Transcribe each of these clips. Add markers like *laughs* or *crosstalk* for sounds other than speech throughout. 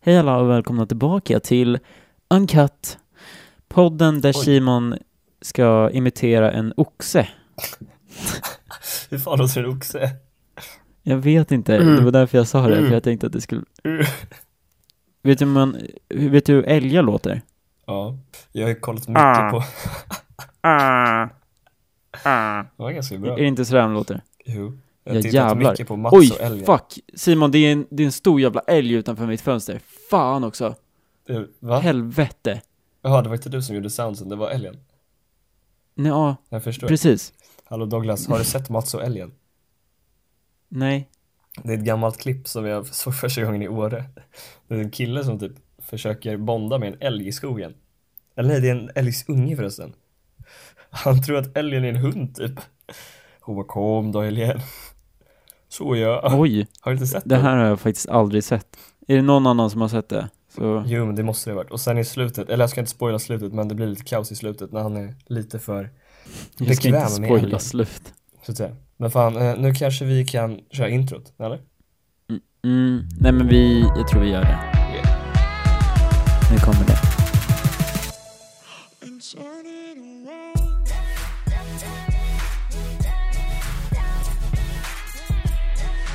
Hej alla och välkomna tillbaka till Uncut, podden där Oj. Simon ska imitera en oxe. Hur fan låter en oxe? Jag vet inte, Mm. det var därför jag sa det, Mm. för jag tänkte att det skulle... Mm. Vet du, hur man, vet du hur älgar låter? Ja, jag har ju kollat mycket Ah. på... Ah. Ah. Det var ganska bra. Är det inte sådär de låter? Jo. Ja, Jag tittat jävlar. mycket på Mats Oj, och Elliot. fuck! Simon, det är, en, det är en stor jävla älg utanför mitt fönster. Fan också! Eh, Va? Helvete! Jaha, det var inte du som gjorde soundsen, det var Elliot. Nej, ja, Jag förstår. precis. Hallå Douglas, har du sett Mats och Elliot? Nej. Det är ett gammalt klipp som jag *laughs* såg första gången i Åre. Det är en kille som typ försöker bonda med en älg i skogen. Eller nej, det är en älgs unge förresten. Han tror att älgen är en hund typ. Hon bara kom då älgen. *laughs* Så ja. Oj, Har du inte sett det den? här har jag faktiskt aldrig sett. Är det någon annan som har sett det? Så... Jo men det måste det ha varit. Och sen i slutet, eller jag ska inte spoila slutet men det blir lite kaos i slutet när han är lite för, Jag ska inte Bekväm med spoila älgen. slut. så att säga. Men fan, eh, nu kanske vi kan köra introt, eller? Mm, nej men vi, jag tror vi gör det. Nu kommer det. and turn it around.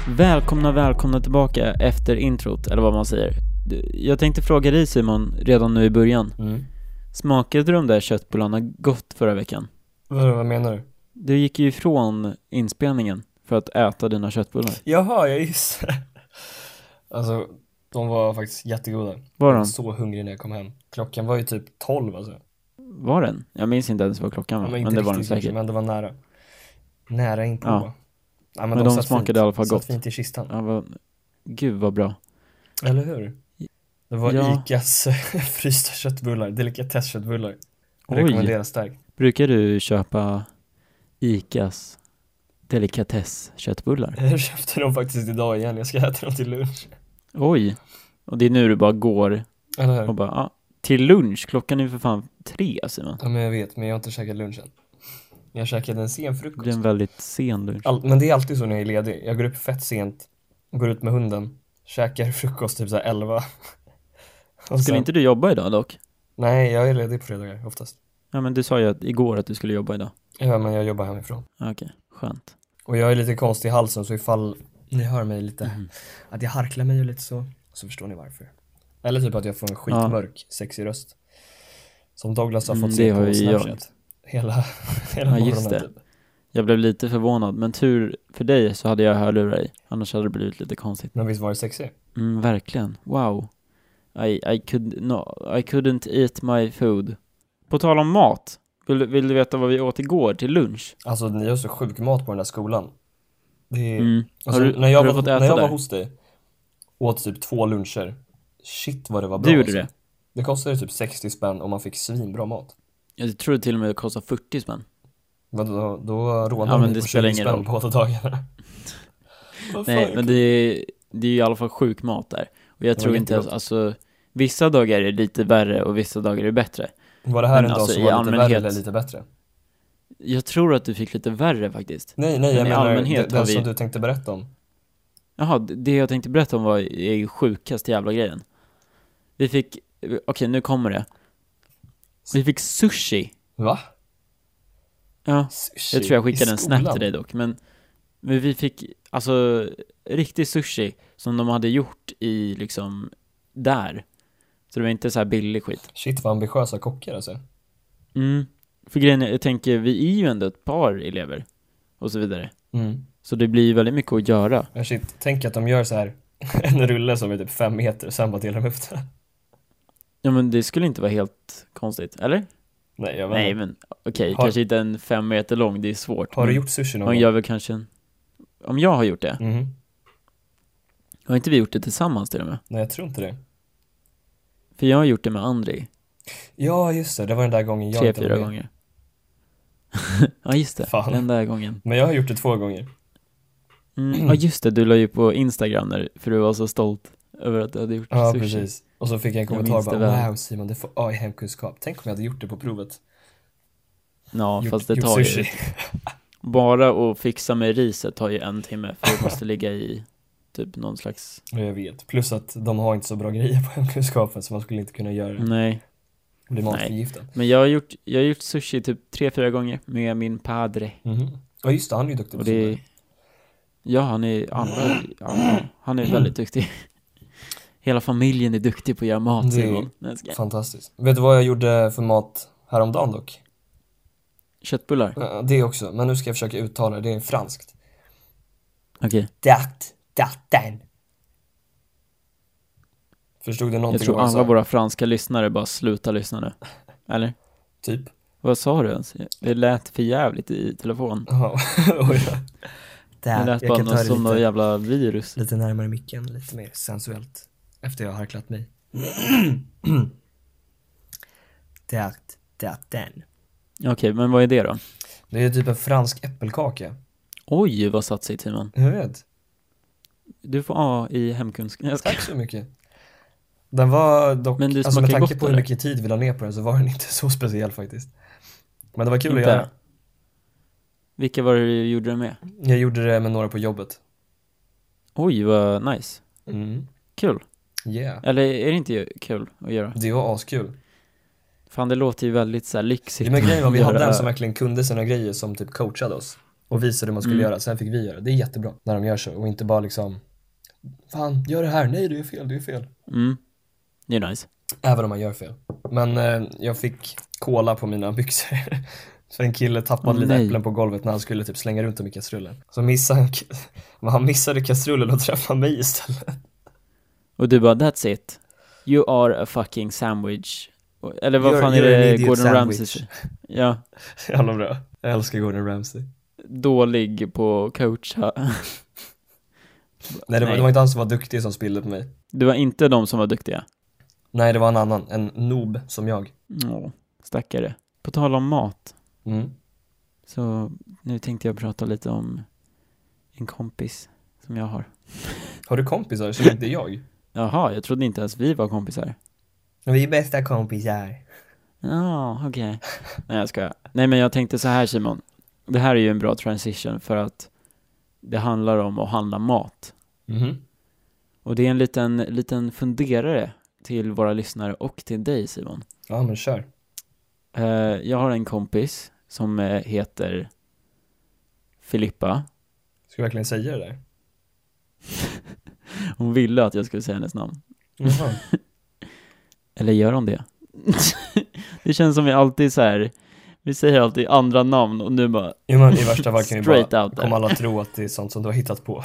Välkomna, välkomna tillbaka efter introt, eller vad man säger. Du, Jag tänkte fråga dig Simon, redan nu i början. Mm. Smakade de där köttbullarna gott förra veckan? Vad, vad menar du? Du gick ju ifrån inspelningen för att äta dina köttbullar. Jaha, jag gissar. *laughs* Alltså, de var faktiskt jättegoda. Var Jag var de? så hungrig när jag kom hem. Klockan var ju typ 12 alltså. Var den? Jag minns inte ens vad klockan var, Ja, men men, inte det var den riktigt kanske, säkert. men det var nära. Nära inpå. Ja. Ja. Ja, Men de satt smakade fint. i alla fall Satt gott. fint i kistan. Ja, vad... Gud vad bra. Eller hur? Det var Ja. Icas *laughs* frysta köttbullar, delikatessköttbullar. Oj. Rekommenderas starkt. Brukar du köpa Icas delikatess köttbullar? Jag köpte dem faktiskt idag igen, jag ska äta dem till lunch. Oj. Och det är nu du bara går Eller hur? och bara, ja, till lunch. Klockan är ju för fan tre, Simon. Ja men jag vet, men jag har inte käkat lunch än. Jag käkade en sen Det frukost. blir en väldigt sen lunch. All, men det är alltid så när jag är ledig. Jag går upp fett sent, går ut med hunden, käkar frukost typ såhär *laughs* 11. Och Skulle inte du jobba idag dock? Nej, jag är ledig på fredagar oftast. Ja, men du sa ju att igår att du skulle jobba idag. Ja, men jag jobbar hemifrån. Ja, Okej, skönt. Och jag är lite konstig i halsen så ifall ni hör mig lite, Mhm. att jag harklar mig och lite så, så förstår ni varför. Eller typ att jag får en skitmörk, sexig röst. Som Douglas har fått Mm, det se har på ju Snapchat. jag. Hela, hela Ja, just morgonen det. typ. Jag blev lite förvånad, men tur för dig så hade jag hörlurar i. Annars hade det blivit lite konstigt. Men visst var det sexig? Mm, verkligen. Wow. I, I, could, no, I couldn't eat my food. På tal om mat, vill, du- vill du veta vad vi åt igår till lunch? Alltså ni har så sjuk mat på den där skolan. Det är... Mm. Alltså, har du, när jag, har du var, fått äta när jag var där? hos dig, åt typ två luncher. Shit vad det var bra. Du gjorde det? alltså. Det kostade typ 60 spänn och man fick svinbra mat. Jag tror till och med det kostar 40 spänn. Men då, då rånade Ja, men de det på spelar 20 ingen roll. spänn *laughs* båda dagarna. Vad fan, Nej, men det är, det är ju i alla fall sjuk mat där. Och jag var tror inte ens, jättegott. alltså, vissa dagar är det lite värre och vissa dagar är det bättre. Var det här men en dag alltså, som i var lite allmänhet- värre eller lite bättre? Jag tror att du fick lite värre faktiskt. Nej, nej, Men jag i menar allmänhet den, den har vi- som du tänkte berätta om. Jaha, d- det jag tänkte berätta om var är ju sjukaste jävla grejen. Vi fick, okej nu kommer det. Vi fick sushi. Va? Ja, Sushi? jag tror jag I skickade en snap skolan? till dig dock, men, men vi fick, alltså, riktig sushi som de hade gjort i, liksom, där. Så det var inte så här billig skit. Shit vad ambitiösa kockar alltså. Mm. För grejen är, jag tänker, vi är ju ändå ett par elever och så vidare. Mm. Så det blir ju väldigt mycket att göra. Men shit, tänk att de gör så här *laughs* en rulle som är typ fem meter, sen bara delar de upp den. Ja men det skulle inte vara helt konstigt, eller? *laughs* Nej, jag vet Nej inte. men okej, Har- kanske inte en fem meter lång, det är svårt. Har du men gjort sushi någon Man gör väl kanske en... Om jag har gjort det? gång? Mhm. Har inte vi gjort det tillsammans till och med? Nej, jag tror inte det. För jag har gjort det med Andri, Ja, just det. Det var den där gången jag tre, inte var fyra med. gånger. *laughs* ja just det, Fan. den där gången. Men jag har gjort det två gånger. Mm. Ja just det, du la ju på Instagram när, för du var så stolt över att du hade gjort Ja, sushi. precis. Och så fick jag en Jag kommentar minns det bara väl. Wow Simon, du får A i hemkunskap. Tänk om jag hade gjort det på provet. Ja, gjort, fast det gjort tar ju *laughs* sushi. *laughs* Bara att fixa med riset tar ju en timme, för det måste ligga i typ någon slags... Ja, jag vet. Plus att de har inte så bra grejer på *laughs* hemkunskapen så man skulle inte kunna göra det. Nej. Bli matförgiftad. Men jag har gjort, jag har gjort sushi typ tre, fyra gånger med min padre. Mhm. Ja just det, Mm. han är ju duktig på Och sånt det... där. Ja, han är... Andra, ja, han är väldigt duktig. Hela familjen är duktig på att göra mat, Det är- säger hon. Nej, jag skojar. Fantastiskt. Vet du vad jag gjorde för mat häromdagen dock? Köttbullar? Ja, Det också, men nu ska jag försöka uttala det, det är franskt. Okej. Dat, datten. Förstod du någonting Jag tror vad alla sa? våra franska lyssnare bara slutar lyssna nu. Eller? Typ. Vad sa du ens? Det lät för jävligt i telefon. Ja, *laughs* oj då. Det Där, lät bara något som något lite, jävla virus. lite närmare micken, lite mer sensuellt. Efter jag har harklat mig. *clears throat* Dat, datten. Okej, men vad är det då? Det är typ en fransk äppelkaka. Oj, vad satt sig Timon. Jag vet. Du får A i hemkunskap. Jag ska... Tack så mycket. Den var dock, Men det alltså med smakar tanke gott, på hur eller? mycket tid vi la ner på den så var den inte *laughs* så speciell faktiskt. Men det var kul Inte? att göra. Vilka var det du gjorde det med? Jag gjorde det med några på jobbet. Oj, vad nice. Mm. Kul. Yeah. Eller är det inte ju- kul att göra? Det var askul. Fan, det låter ju väldigt så här lyxigt. Det med grejen var vi att hade göra- en som verkligen kunde sina grejer som typ coachade oss och visade hur man skulle Mm. göra. Sen fick vi göra. Det är jättebra när de gör så och inte bara liksom Fan, gör det här. Nej, det är fel, det är fel. Mm. Det är nice. Även om man gör fel. Men eh, jag fick kola på mina *laughs* byxor. Så en kille tappade Åh, lite nej. äpplen på golvet när han skulle typ slänga runt dem i kastrullen. Så missade han, *laughs* men han missade kastrullen och träffade mig istället. *laughs* Och du bara, that's it. You are a fucking sandwich. Eller vad You're- fan you're är an det idiot Gordon sandwich. Ramsay säger? Ja, Jävla bra. Jag älskar Gordon Ramsay. dålig på att coacha. *laughs* Nej, det var, Nej. det var inte han som var duktig som spillde på mig. Det var inte de som var duktiga. Nej, det var en annan. En noob som jag. Åh, stackare. På tal om mat, Mm. så nu tänkte jag prata lite om en kompis som jag har. Har du kompisar *laughs* som inte är jag? Jaha, jag trodde inte ens vi var kompisar. Vi är bästa kompisar. Ja, okej. Nej, jag skojar. Nej, men jag tänkte så här Simon. Det här är ju en bra transition för att det handlar om att handla mat. Mhm. Och det är en liten, liten funderare till våra lyssnare och till dig Simon. Ja, men kör. Eh, jag har en kompis som eh, heter Filippa. Ska jag verkligen säga det där? Hon ville att jag skulle säga hennes namn. Jaha. Eller gör hon det? *laughs* det känns som vi alltid så här. vi säger alltid andra namn och nu bara Jo, men i värsta fall kan vi Straight bara, out there. kommer alla tro att det är sånt som du har hittat på.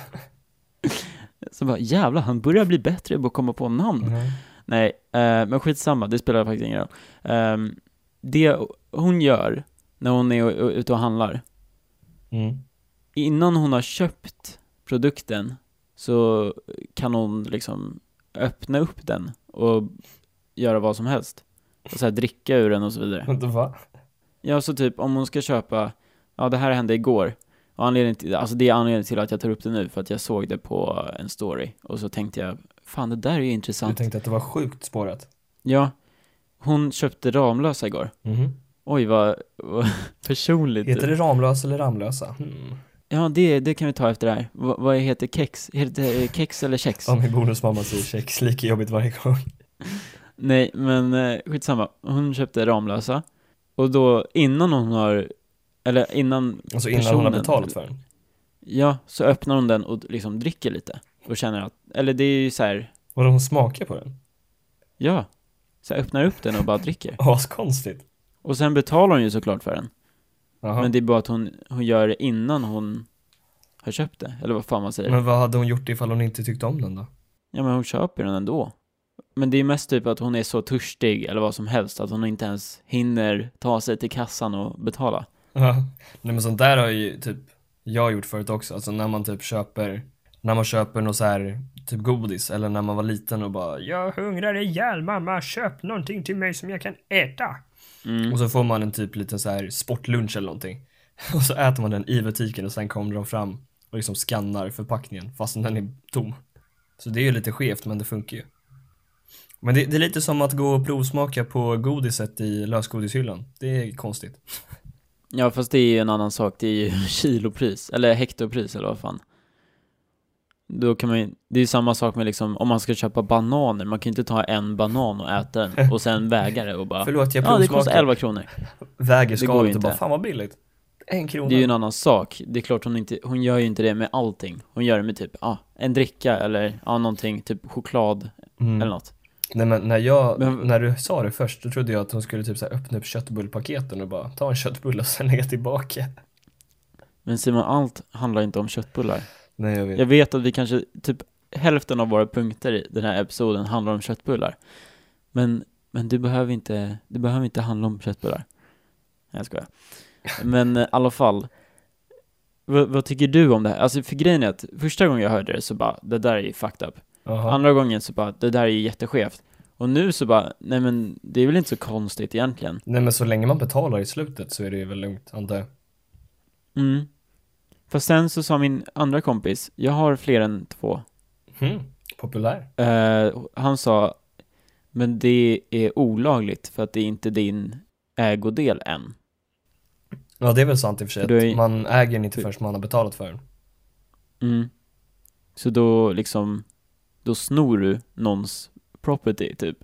Så bara, jävlar, han börjar bli bättre på att komma på namn. Mhm. Nej, eh, men skitsamma, det spelar faktiskt ingen roll. Ehm, det hon gör när hon är u- ute och handlar, Mm. innan hon har köpt produkten så kan hon liksom öppna upp den och göra vad som helst. Och så här dricka ur den och så vidare. Vänta, va? Ja, så typ om hon ska köpa, ja det här hände igår. Och anledningen till, alltså det är anledningen till att jag tar upp det nu, för att jag såg det på en story. Och så tänkte jag, fan det där är ju Du intressant. tänkte att det var sjukt spårat? Ja, hon köpte Ramlösa igår. Mhm. Oj, vad, vad *laughs* personligt. Heter det Ramlösa eller Ramlösa? Mm. Ja, det, det kan vi ta efter det här. Va, vad heter kex? Heter det eh, kex eller kex? Ja, min bonusmamma säger kex, lika jobbigt varje gång. Nej, men eh, skitsamma. Hon köpte Ramlösa. Och då innan hon har, eller innan Alltså innan hon har Personen. betalat för den. Ja, så öppnar hon den och liksom dricker lite och känner att, eller det är ju så här, Och hon smakar på den. ja, så här öppnar upp den och bara dricker. Askonstigt. Och sen betalar hon ju såklart för den, Jaha. men Men, det är bara att hon, hon gör det innan hon har köpt det, eller vad fan man säger. vad hade hon gjort ifall hon inte tyckte om den då? Ja men hon köper den ändå. Men det är mest typ att hon är så törstig eller vad som helst att hon inte ens hinner ta sig till kassan och betala. Ja. Nej men sånt där har ju typ jag gjort förut också. Alltså när man typ köper, när man köper något så här typ godis eller när man var liten och bara jag hungrar ihjäl mamma, köp någonting till mig som jag kan äta. Mm. Och så får man en typ liten så här sportlunch eller någonting. *laughs* Och så äter man den i butiken och sen kommer de fram och liksom skannar förpackningen fast den är tom. Så det är ju lite skevt men det funkar ju. Men det, det är lite som att gå och provsmaka på godiset i lösgodishyllan. Det är konstigt. Ja *laughs* fast det är ju en annan sak, det är ju kilopris, eller hektopris eller vad fan. då kan man ju, det är ju samma sak med liksom, om man ska köpa bananer, man kan ju inte ta en banan och äta den och sen väga det och bara Förlåt, jag Ja, det kostar provsmakar. 11 kronor. Väger Det går skalet inte. och bara, fan vad billigt. En krona. Det är ju en annan sak. Det är klart hon inte, hon gör ju inte det med allting. Hon gör det med typ, ah, en dricka eller, ja, ah, någonting, typ choklad Mm. eller något. Nej men när jag, Men- när du sa det först, då trodde jag att hon skulle typ så här öppna upp köttbullpaketen och bara ta en köttbulle och sen lägga tillbaka. Men Simon, allt handlar inte om köttbullar. Nej jag vet. Jag vet att vi kanske, typ hälften av våra punkter i den här episoden handlar om köttbullar. Men, men du behöver inte, det behöver inte handla om köttbullar. Nej, jag skojar. Men eh, i alla fall, vad, vad tycker du om det här? Alltså för grejen är att första gången jag hörde det så bara, det där är ju fucked up. Jaha. Andra gången så bara, det där är ju jätteskevt. Och nu så bara, nej men det är väl inte så konstigt egentligen. Nej men så länge man betalar i slutet så är det ju väl lugnt, antar jag. Mm. Fast sen så sa min andra kompis, jag har fler än två Hmm. Populär. Eh, han sa, men det är olagligt för att det är inte din ägodel än. Ja det är väl sant i och för sig, Du är- att man äger den inte du- förrän man har betalat för den. Mm. Så då liksom, då snor du någons property typ.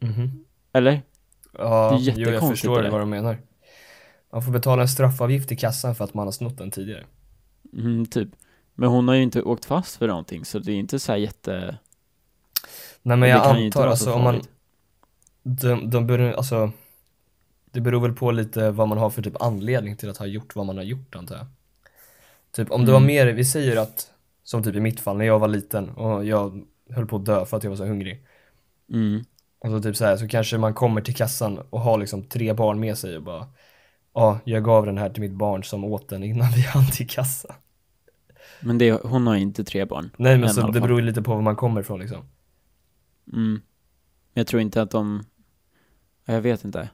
Mhm. Eller? Ja, Det är jo, jag jättekonstigt det förstår där. vad de menar. Man får betala en straffavgift till kassan för att man har snott den tidigare. Mm, typ. Men hon har ju inte åkt fast för någonting så det är inte så här jätte... Nej men det jag kan ju inte antar vara alltså så om man, farligt. de, de beror, alltså Det beror väl på lite vad man har för typ anledning till att ha gjort vad man har gjort antar jag Typ om det var Mm. mer, vi säger att Som typ i mitt fall när jag var liten och jag höll på att dö för att jag var så hungrig Mm. Och så typ så här så kanske man kommer till kassan och har liksom tre barn med sig och bara Ja, jag gav den här till mitt barn som åt den innan vi *laughs* hann till kassan Men det, hon har ju inte tre barn. Nej men Än i så alla det fall. beror ju lite på var man kommer ifrån liksom Mm. Men Jag tror inte att de... ja, Jag vet inte.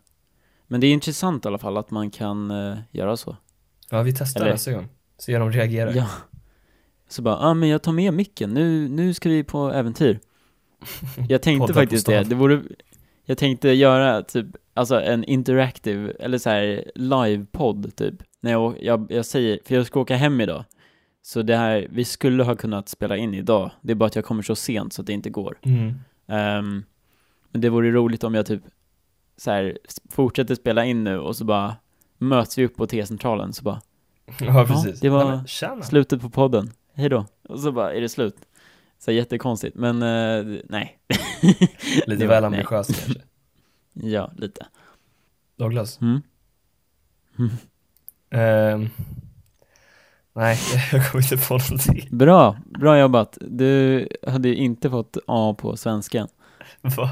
Men det är intressant i alla fall att man kan eh, göra så. Ja vi testar Eller- nästa gång, se hur de reagerar Ja. Så bara, ja ah, men jag tar med micken, nu, nu ska vi på *laughs* äventyr. Jag Podda tänkte på faktiskt det, stan. det vore, jag tänkte göra typ, alltså en interactive, eller så här livepodd typ. När jag, jag, jag säger, för jag ska åka hem idag. Så det här, vi skulle ha kunnat spela in idag, det är bara att jag kommer så sent så att det inte går. Mm. *laughs* Ehm, men det vore roligt om jag typ så här, s- fortsätter spela in nu och så bara möts vi upp på T-centralen så bara Ja precis. det var- Nej, men, tjena. Slutet på podden, hej då. Och så bara är det slut. Så här jättekonstigt, men eh, nej. Lite Det var- väl nej. ambitiöst kanske. Ja, lite. Douglas? Mm. Ehm, nej, *laughs* jag kommer inte på någonting. Bra, bra jobbat. Du hade ju inte fått A på svenskan. *laughs* Va?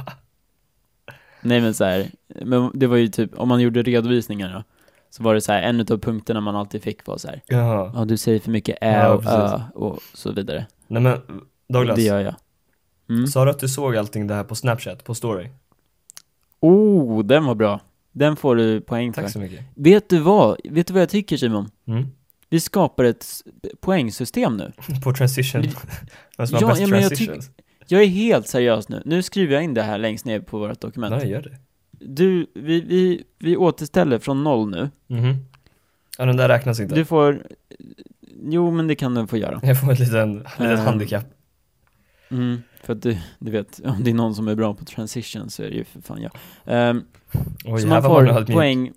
Nej men så här, men det var ju typ, om man gjorde redovisningar då, så var det så här, en utav punkterna man alltid fick var så här, Jaha. ja du säger för mycket Ä Ja, och Ö precis. och så vidare. Nej men Douglas, Det gör jag. Mm. sa du att du såg allting det här på Snapchat, på story? Oh, den var bra. Den får du poäng för. Tack så mycket. Vet du vad, vet du vad jag tycker Simon? Mm. Vi skapar ett s- poängsystem nu. *laughs* På transition. Vem som Ja, har bäst ja, men jag transitions? Jag är helt seriös nu. Nu skriver jag in det här längst ner på vårt dokument. Nej, gör det. Du, vi, vi, vi återställer från noll nu. Mhm. Ja, den där räknas inte. Du får... Jo, men det kan du få göra. Jag får ett liten, ett litet Ehm. handikapp. Mm, för att du, du vet, om det är någon som är bra på transition så är det ju för fan jag. Ehm, Oj, så här man var man får ödmjuk. poäng,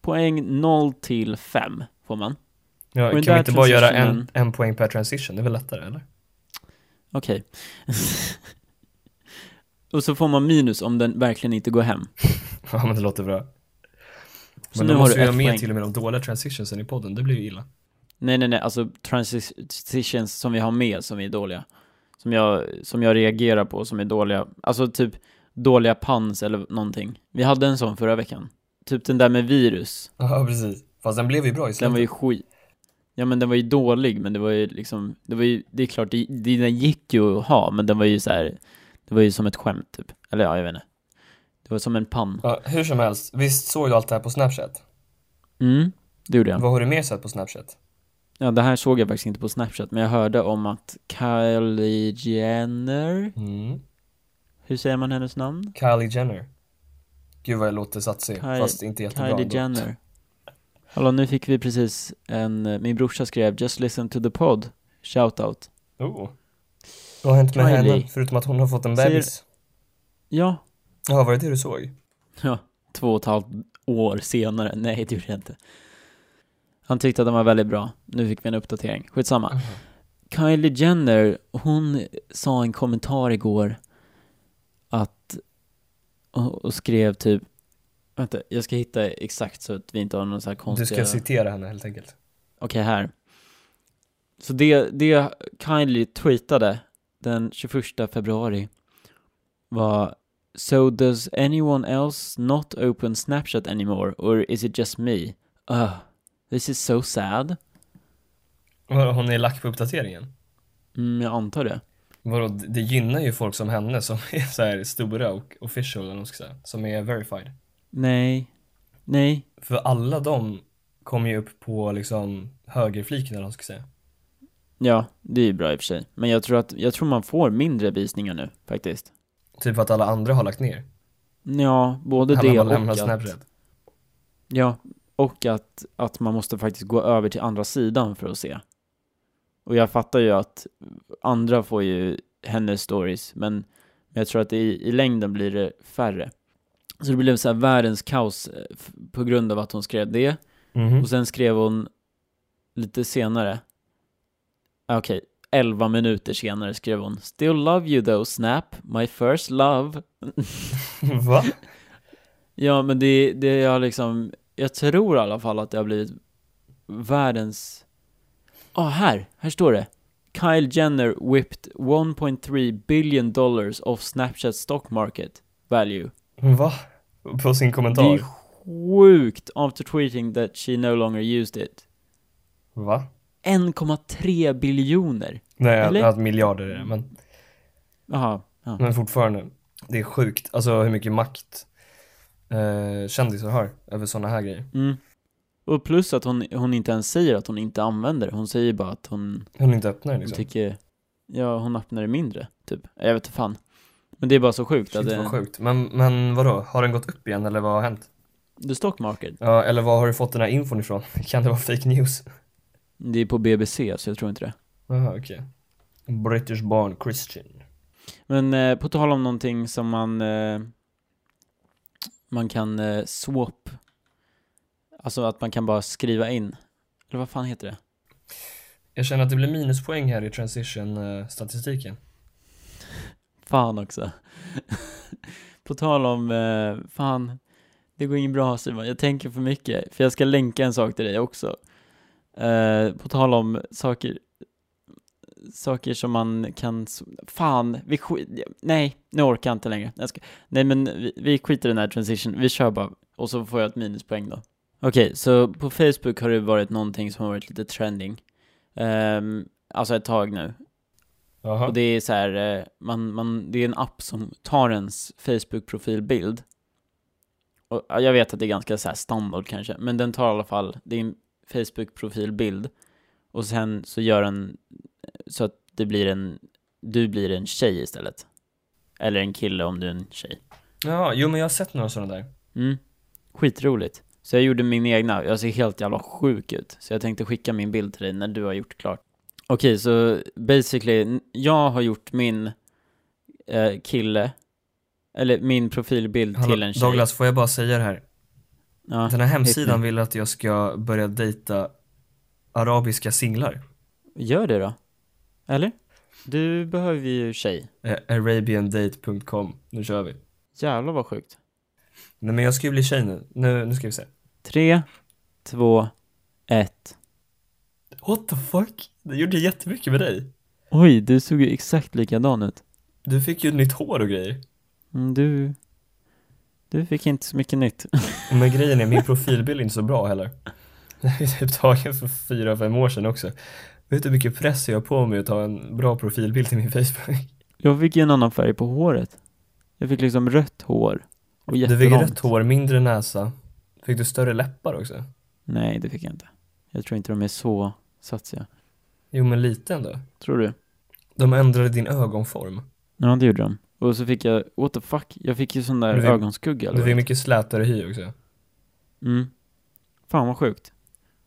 poäng 0 till 5 får man. Ja, och den kan vi där inte bara göra en, transitionen- en poäng per transition? Det är väl lättare, eller? *laughs* Okej. *laughs* Och så får man minus om den verkligen inte går hem. Ja, men det låter bra. Så men nu då har måste du vi ett ha med poäng. till och med de dåliga transitionsen i podden, det blir ju illa. Nej, nej, nej, alltså transitions som vi har med som är dåliga. Som jag, som jag reagerar på som är dåliga. Alltså typ dåliga pans eller någonting. Vi hade en sån förra veckan. Typ den där med virus. Ja, precis. Fast den blev ju bra i Den slutet. var ju skit. Ja men den var ju dålig, men det var ju liksom, det var ju, det är klart, det, det, den gick ju att ha, men den var ju så här. det var ju som ett skämt typ. Eller ja, jag vet inte. Det var som en pann. Ja, hur som helst, visst såg du allt det här på Snapchat? Mm, det gjorde jag. Vad har du mer sett på Snapchat? Ja, det här såg jag faktiskt inte på Snapchat, men jag hörde om att Kylie Jenner, Mm. hur säger man hennes namn? Kylie Jenner. Gud vad jag låter satsig, Ky- fast inte jättebra Kylie ändå. Jenner. eh, Hallå, nu fick vi precis en, min brorsa skrev 'Just listen to the pod' Shoutout. Oh. Vad har hänt med Kylie. henne? Förutom att hon har fått en Säger- bebis. Ja, Ja, var det det du såg? Ja, två och ett halvt år senare. Nej, det gjorde jag inte. Han tyckte att den var väldigt bra. Nu fick vi en uppdatering. Skitsamma. Mm. Kylie Jenner, hon sa en kommentar igår att... Och, och skrev typ... Vänta, jag ska hitta exakt så att vi inte har någon så här Du konstiga... ska citera henne helt enkelt. Okej, här. Så det, det Kylie tweetade den 21 februari var So does anyone else not open Snapchat anymore or is it just me? Ugh, this is so sad. Vadå, Hon är lack på uppdateringen. Mm, jag antar det. Vadå, det det gynnar ju folk som henne som är så här stora och official, eller vad man ska säga, som är verified. Nej, nej, För alla de kommer ju upp på liksom högerfliken eller vad man ska säga. ja, det är ju bra i och för sig. Men jag tror att, jag tror man får mindre visningar nu faktiskt. Typ för att alla andra har lagt ner. Ja, både alla det har och lämnat att, Snapchat. Ja, och att, att man måste faktiskt gå över till andra sidan för att se. Och jag fattar ju att andra får ju hennes stories, men, men jag tror att i, i längden blir det färre. Så det blev så här världens kaos eh, f- på grund av att hon skrev det. Mhm. Och sen skrev hon lite senare, ah, okej, 11 minuter senare skrev hon Still love you though Snap, my first love. *laughs* Va? Ja, men det, det har liksom, jag tror i alla fall att det har blivit världens... Ah, här! Här står det. Kyle Jenner whipped 1.3 billion dollars off Snapchat stock market value. Va? På sin Det är kommentar? sjukt after tweeting that she no longer used it. Va? 1,3 biljoner. Nej, jag Eller? jag har haft miljarder i det, men, Jaha. Ja. men fortfarande. Det är sjukt, alltså hur mycket makt eh, kändisar har över sådana här grejer. Mm. Och plus att hon, hon inte ens säger att hon inte använder det. Hon säger bara att hon Hon inte öppnar det Hon liksom. tycker, ja hon öppnar det mindre, typ. Jag vet inte fan. Men det är bara så sjukt att Shit vad det, sjukt. Men, men vadå, har den gått upp igen eller vad har hänt? the stock market, Ja, eller var har du fått den här infon ifrån? *laughs* Kan det vara fake news? det är på BBC så jag tror inte det. Jaha, okej. British born Christian. Men eh, på tal om någonting som man, eh, man kan eh, swap, alltså att man kan bara skriva in, eller vad fan heter det? Jag känner att det blir minuspoäng här i eh, transition-statistiken. Fan också. på tal om, eh, fan, det går inget bra Simon, jag tänker för mycket, för jag ska länka en sak till dig också. Eh, på tal om saker, saker som man kan, s- fan, vi skit, nej, nu orkar jag inte längre. Jag ska, nej men vi, vi skiter i den här transition, vi kör bara, och så får jag ett minuspoäng då. Okej, så på Facebook har det varit någonting som har varit lite trending. Ehm, alltså ett tag nu. Jaha. Och det är så här, eh, man, man, det är en app som tar ens Facebook-profilbild. Och ja, jag vet att det är ganska så här standard kanske, men den tar i alla fall din Facebook-profilbild och sen så gör den så att det blir en, du blir en tjej istället. Eller en kille om du är en tjej. Ja, jo men jag har sett några sådana där. Mm. Skitroligt. Så jag gjorde min egna, jag ser helt jävla sjuk ut. Så jag tänkte skicka min bild till dig när du har gjort klart. Okej, så basically, n- jag har gjort min eh, kille, eller min profilbild Hallå, till en tjej. Douglas, får jag bara säga det här? ja. Den här hemsidan nu. vill att jag ska börja dejta arabiska singlar. Gör det då. Eller? Du behöver ju tjej. Eh, Arabiandate.com. Nu kör vi. Jävlar vad sjukt. Nej men jag ska ju bli tjej nu. Nu, nu ska vi se. Tre, två, ett. What the fuck? Det gjorde jättemycket med dig. Oj, du såg ju exakt likadan ut. Du fick ju nytt hår och grejer. Mm, Du... Du fick inte så mycket nytt. Men grejen är, min profilbild är inte så bra *laughs* heller. Den är typ tagen för fyra, fem år sedan också. Vet du hur mycket press jag har på mig att ta en bra profilbild till min Facebook? Jag fick ju en annan färg på håret. Jag fick liksom rött hår. Och Du fick jättelångt. rött hår, mindre näsa. Fick du större läppar också? Nej, det fick jag inte. Jag tror inte de är så satsiga. Jo men lite ändå. Tror du? De ändrade din ögonform. Ja, det gjorde de. Och så fick jag, what the fuck, jag fick ju sån där Du fick- ögonskugga eller Du fick vad? mycket slätare hy också. Mm. Fan vad sjukt.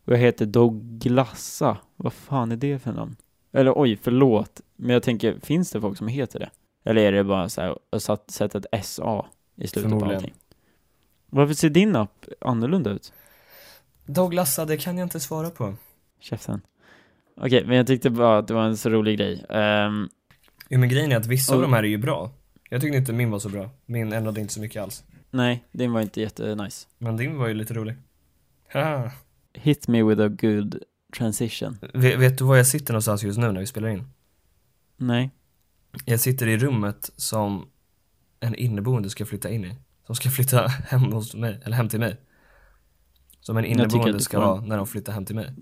Och jag heter Douglassa. Vad fan är det för namn? Eller oj, förlåt. Men jag tänker, finns det folk som heter det? Eller är det bara så här, och satt, satt ett SA i slutet på Förmodligen. allting? Varför ser din app annorlunda ut? Douglas, det kan jag inte svara på. Käften. Okej, men jag tyckte bara att det var en så rolig grej. Ehm, Jo men grejen är att vissa av Och- de här är ju bra. Jag tyckte inte min var så bra. Min ändrade inte så mycket alls. nej, din var inte jättenice. Men din var ju lite rolig. Haha. Hit me with a good transition. Vet, vet du var jag sitter någonstans just nu när vi spelar in? Nej. Jag sitter i rummet som en inneboende ska flytta in i. Som ska flytta *laughs* hem hos mig, eller hem till mig. Som en Jag tycker att inneboende du ska får en- vara när de flyttar hem till mig.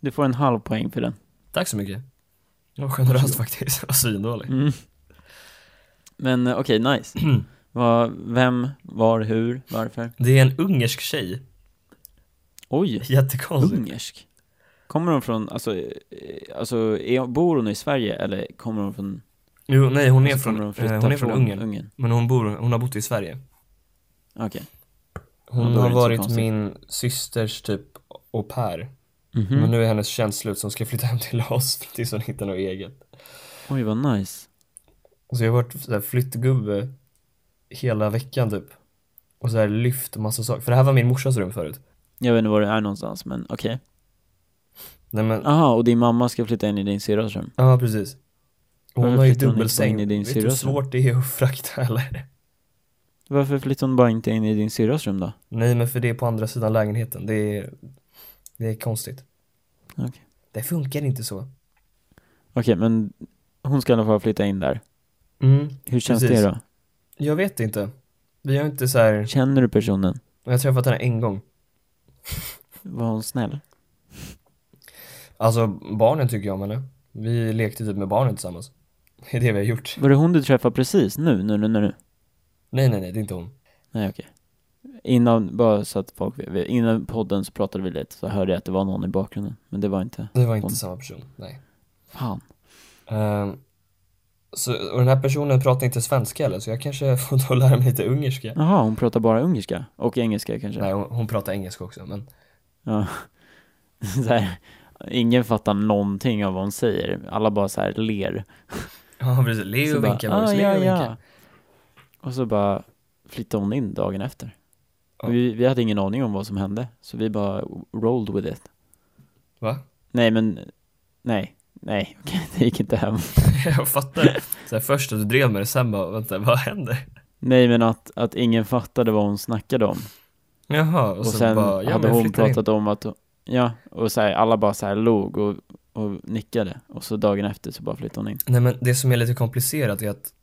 Du får en halv poäng för den. Tack så mycket. Det var generöst faktiskt. *laughs* Det var svindålig. Mm. Men eh, okej, *clears throat* nice. Vad, vem, var, hur, varför? Det är en ungersk tjej. *laughs* Oj, Jättekonstigt. ungersk. Kommer hon från, alltså, eh, alltså är, bor hon i Sverige eller kommer hon från... Jo, nej hon är alltså, från, kommer eh, hon är från Ungern. Men hon, bor, hon har bott i Sverige. Okej. Ja, då Hon är Mm. det har inte så varit konstigt. min systers typ au pair. Mhm. Men nu är hennes tjänst slut så hon ska flytta hem till oss *laughs* tills hon hittar något eget. Oj, vad nice. Så jag har varit så här flyttgubbe hela veckan typ. Och så här lyft massa saker. För det här var min morsas rum förut. Jag vet inte var det är någonstans, men okej. Nej men, ja Aha, och din mamma ska flytta in i din syrras rum. precis. Varför Hon har ju flyttar hon inte in dubbelsäng. i din Vet du hur syrras rum? svårt det är att frakta *laughs* eller? Varför flyttar hon bara inte in i din syrras rum då? Nej men för det är på andra sidan lägenheten. Det är, det är konstigt. Okej. Det funkar inte så. Okej, men hon ska i alla fall flytta in där. Mm. Hur känns Precis. det då? Jag vet inte. Vi har inte så här. Känner du personen? Jag har träffat henne en gång. Var hon snäll? Alltså barnen tycker jag om henne. Vi lekte typ med barnen tillsammans. *laughs* Det är det vi har gjort. Var det hon du träffade precis nu, nu, nu, nu? nu? Nej nej nej, det är inte hon. Nej, okej. Innan, bara så att folk vet- innan podden så pratade vi lite, så hörde jag att det var någon i bakgrunden. Men det var inte, Det var inte Hon. samma person. Nej. fan. Ehm, så, och den här personen pratar inte svenska heller, så jag kanske *laughs* får då lära mig lite ungerska. Jaha, hon pratar bara ungerska? Och engelska kanske? Nej, hon, hon pratar engelska också, men Ja. *laughs* så här, ingen fattar någonting av vad hon säger. Alla bara så här ler. ja precis, le Så och bara, "Ah, vinka Magnus, le och vinka. Och så bara flyttade hon in dagen efter. Ja. Och vi, vi hade ingen aning om vad som hände, så vi bara rolled with it. Va? Nej men, nej, nej, *laughs* okej, det gick inte hem. *laughs* jag fattar. Så här, först att du drev med det, sen bara, vänta, vad händer? Nej men att, att ingen fattade vad hon snackade om. Jaha, och, Och så sen bara, ja hade men jag hon flyttar in. pratat om att, hon- ja, och så här, alla bara så här log och, och nickade. Och så dagen efter så bara flyttade hon in. Nej men det som är lite komplicerat är att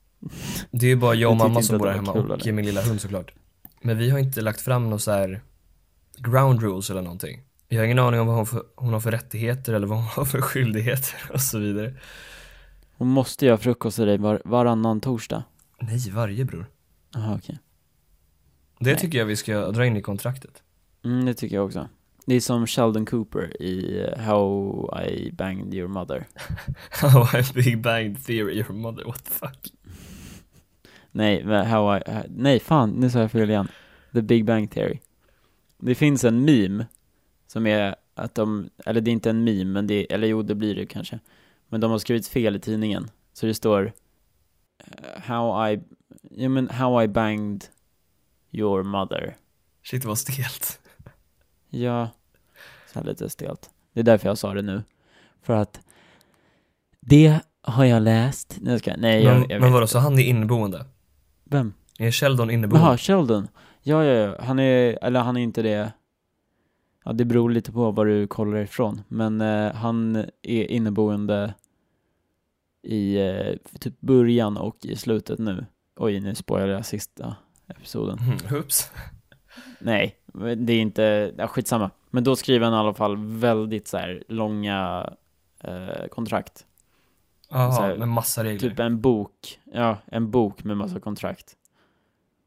det är ju bara jag och Jag tyckte mamma inte som att bor det här hemma var kul, och eller? min lilla hund såklart. Men vi har inte lagt fram någon så här ground rules eller någonting. Jag har ingen aning om vad hon, för, hon har för rättigheter eller vad hon har för skyldigheter och så vidare. Hon måste göra frukost till dig var, varannan torsdag. Nej, varje bror. Jaha okej. Det Nej. tycker jag vi ska dra in i kontraktet. *laughs* Mm, det tycker jag också. Det är som Sheldon Cooper i eh, How I Banged Your Mother. How I Big Bang Theory your mother, what the fuck? Nej, men how I, eh, nej fan, nu sa jag fel igen. The Big Bang Theory. Det finns en meme som är att de, eller det är inte en meme, men det, eller jo det blir det kanske. Men de har skrivit fel i tidningen. Så det står eh, How I, ja men How I Banged Your Mother. Shit vad stelt. Ja, så här lite stelt. Det är därför jag sa det nu. För att det har jag läst. Nej, jag ska, nej jag, men jag men vet. vadå, så han är inneboende? Vem? Är Sheldon inneboende? Jaha, Sheldon. Ja, ja, ja. Han är, eller han är inte det. Ja, det beror lite på var du kollar ifrån. Men eh, han är inneboende i eh, typ början och i slutet nu. Oj, nu spoilar jag sista episoden. Mhm, Oops. Nej, men det är inte, ja, skitsamma. Men då skriver han i alla fall väldigt så här långa eh, kontrakt. Så Jaha, här, med massa regler. Typ en bok, ja, en bok med massa kontrakt.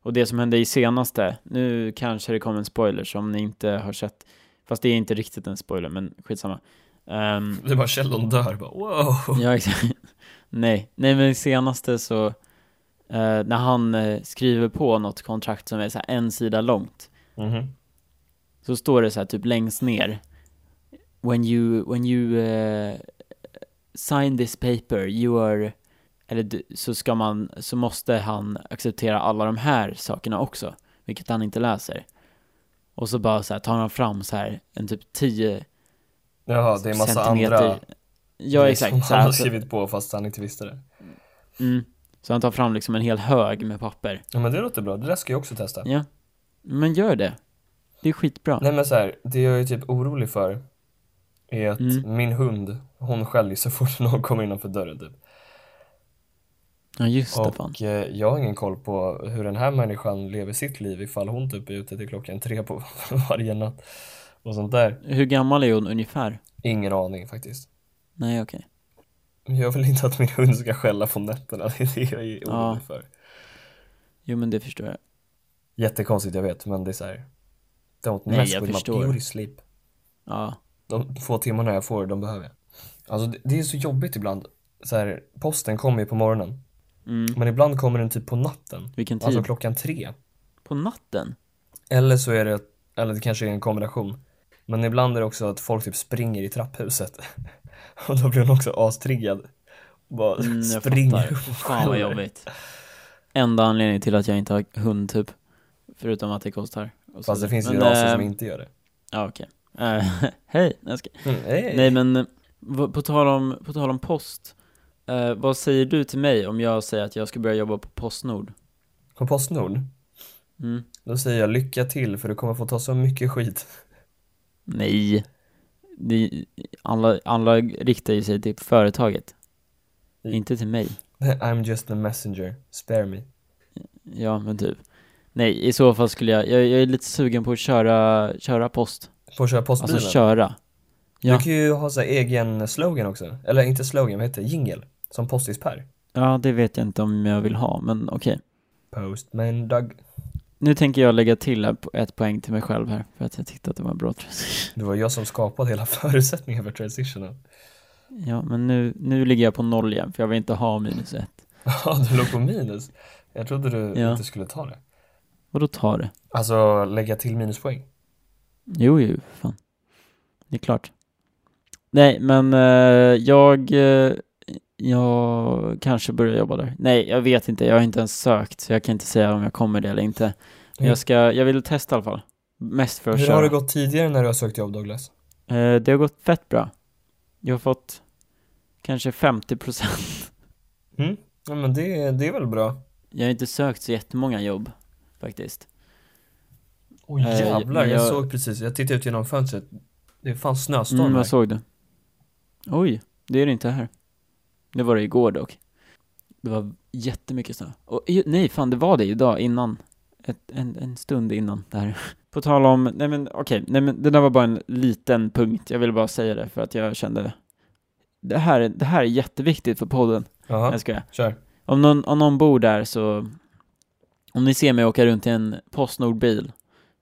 Och det som hände i senaste, nu kanske det kom en spoiler som ni inte har sett, fast det är inte riktigt en spoiler, men skitsamma. *laughs* Ehm, Det är bara Sheldon dör, bara wow. Ja, exakt. *laughs* Nej, nej men senaste så, eh, när han eh, skriver på något kontrakt som är så här en sida långt, Mhm. så står det så här typ längst ner When you, when you eh, sign this paper, you are, eller du- så ska man, så måste han acceptera alla de här sakerna också, vilket han inte läser. Och så bara så här, tar han fram så här en typ 10 Jaha, det är massa centimeter. andra Ja, grejer exakt. som Så han här, har så, skrivit på fast han inte visste det. mm, så han tar fram liksom en hel hög med papper. Ja men det låter bra, det där ska jag också testa. Ja. Men gör det. Det är skitbra. Nej men så här, det jag är typ orolig för är att Mm. min hund, hon skäller så fort *laughs* någon kommer innanför dörren typ. Ja, just det fan. Och eh, jag har ingen koll på hur den här människan lever sitt liv ifall hon typ är ute till klockan tre på *laughs* varje natt. Och sånt där. Hur gammal är hon ungefär? Ingen aning faktiskt. Nej, okej. Men Jag vill inte att min hund ska skälla på nätterna, *laughs* det är det jag är Ja. orolig för. Jo, men det förstår jag. Jättekonstigt jag vet, men det är så här. Don't Nej, mess jag with förstår. my beauty sleep. Ja. De få timmarna jag får, de behöver jag. Alltså det- det är så jobbigt ibland. Så här, posten kommer ju på morgonen. Mm. Men ibland kommer den typ på natten. Vilken tid? Alltså klockan tre. På natten? Eller så är det, eller det kanske är en kombination. Men ibland är det också att folk typ springer i trapphuset. *laughs* Och då blir hon också astriggad. Bara Mm, jag springer fattar. upp och Fan vad skäller. jobbigt. Enda anledningen till att jag inte har hund typ. Förutom att det kostar. Och så- Fast det finns ju Men, raser eh, som inte gör det. Ja, okej. Eh, *laughs* hej, nej, jag ska... Mm, nej, Nej men, eh, vad- på tal om, på tal om post. eh, vad säger du till mig om jag säger att jag ska börja jobba på Postnord? På Postnord, Mm. då säger jag lycka till för du kommer få ta så mycket skit. *laughs* Nej. Det, alla, alla riktar ju sig till företaget. Mm. Inte till mig. I'm just a messenger, spare me. Ja, men typ. Nej, i så fall skulle jag, jag, jag är lite sugen på att köra, köra post. Får köra postbilen. Alltså köra. Ja. Du kan ju ha så här egen slogan också. Eller inte slogan, vad heter det? Jingle. Som Postis Per. Ja, det vet jag inte om jag vill ha, men okej. Postman Doug. Nu tänker jag lägga till här på- ett poäng till mig själv här, för att jag tyckte att det var en bra transition. Det var jag som skapade hela *laughs* förutsättningen för transitionen. *laughs* Ja, men nu, nu ligger jag på noll igen, för jag vill inte ha minus ett. Ja, du låg på minus. Jag trodde du Ja. inte skulle ta det. Och då tar det. Alltså lägga till minuspoäng. Jo, jo, fan. Det är klart. Nej, men eh, jag, eh, jag kanske börjar jobba där. Nej, jag vet inte. Jag har inte ens sökt, så jag kan inte säga om jag kommer det eller inte. Men Hur- jag ska, jag vill testa i alla fall. Mest för att Hur köra. har det gått tidigare när du har sökt jobb Douglas? Eh, det har gått fett bra. Jag har fått kanske 50 procent. *laughs* Mm? Ja, men det, det är väl bra. Jag har inte sökt så jättemånga jobb faktiskt. Oj Eh, jävlar, men jag, jag- såg precis, jag tittade ut genom fönstret. Det är fan snöstorm Mm, här. vad såg du? Oj, det är det inte här. Det var det igår dock. Det var jättemycket snö. Och, i- nej, fan det var det idag innan. Ett, en, en stund innan det här. *laughs* På tal om, nej men okej, nej men det där var bara en liten punkt. Jag ville bara säga det för att jag kände det här, är- det här är jätteviktigt för podden. Jaha, Jag skojar. kör. Om någon, om någon bor där så, om ni ser mig åka runt i en Postnordbil,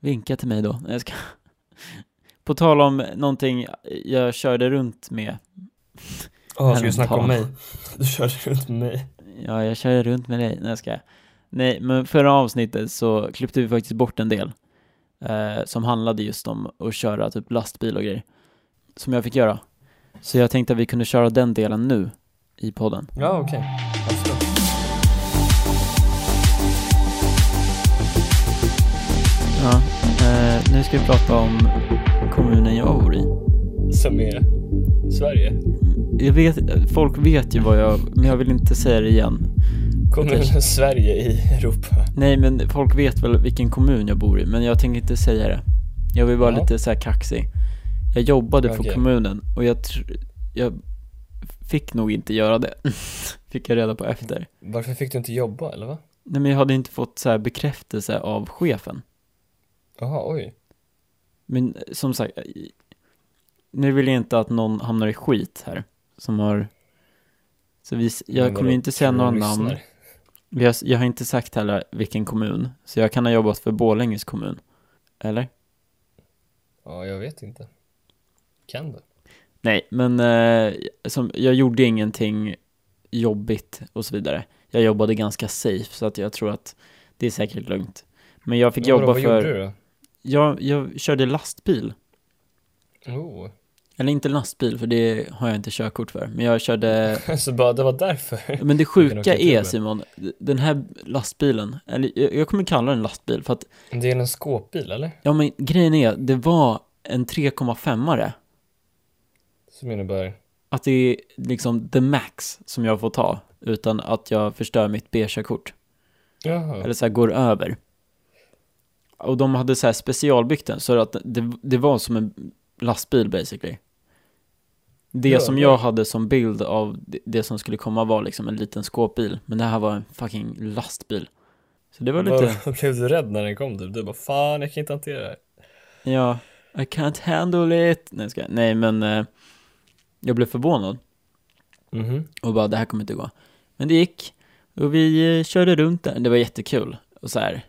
vinka till mig då. Nej, Jag ska... *laughs* På tal om någonting jag körde runt med, Jaha, ska du Häromdagen. snacka om mig? *laughs* Du körde runt mig. ja jag körde runt med dig, nej jag ska... Nej, men förra avsnittet så klippte vi faktiskt bort en del eh, som handlade just om att köra typ lastbil och grejer, som jag fick göra. Så jag tänkte att vi kunde köra den delen nu i podden. Ja, okej. Absolut. Ja, eh, nu ska vi prata om kommunen jag bor i. Som är Sverige. Jag vet, folk vet ju vad jag, men jag vill inte säga det igen. Kommunen Okej. Sverige i Europa. Nej men folk vet väl vilken kommun jag bor i, men jag tänker inte säga det. Jag vill vara Ja. lite så här kaxig. Jag jobbade för Okej. kommunen och jag, tr- jag fick nog inte göra det. *laughs* fick jag reda på efter. Varför fick du inte jobba eller va? Nej men jag hade inte fått så här bekräftelse av chefen. Jaha, oj. Men eh, som sagt, eh, nu vill jag inte att någon hamnar i skit här. Som har... Så vi, s- jag Men kommer vadå, inte säga tror du några de namn. lyssnar? Vi har- Jag har inte sagt heller vilken kommun, så jag kan ha jobbat för Borlänges kommun. Eller? Ja, jag vet inte. Kan du? Nej, men eh, som, jag gjorde ingenting jobbigt och så vidare. Jag jobbade ganska safe, så att jag tror att det är säkert lugnt. Men jag fick Men vadå, jobba vad för... gjorde du då? Jag, jag körde lastbil. Oh, *laughs* Eller inte lastbil, för det har jag inte körkort för. Men jag *laughs* körde... Så bara, det var därför. *laughs* Men det Vilken sjuka åkertubbe. är Simon, den här lastbilen, eller jag- jag kommer kalla den lastbil för att, Det är en skåpbil eller? ja men grejen är, det var en 3,5-are. Som innebär, Att det är liksom the max som jag får ta utan att jag förstör mitt B-körkort. jaha. Eller så här går över. Och de hade så här specialbyggt den så att det, det var som en lastbil basically. Det Ja, som ja. jag hade som bild av det- det som skulle komma var liksom en liten skåpbil. Men det här var en fucking lastbil. Så det var lite, Bara, *laughs* blev du rädd när den kom typ? Du bara, fan jag kan inte hantera det här. ja, I can't handle it. Nej, ska jag. Nej men eh, jag blev förvånad. Mhm. och bara det här kommer inte gå. Men det gick och vi eh, körde runt där. Det var jättekul och så här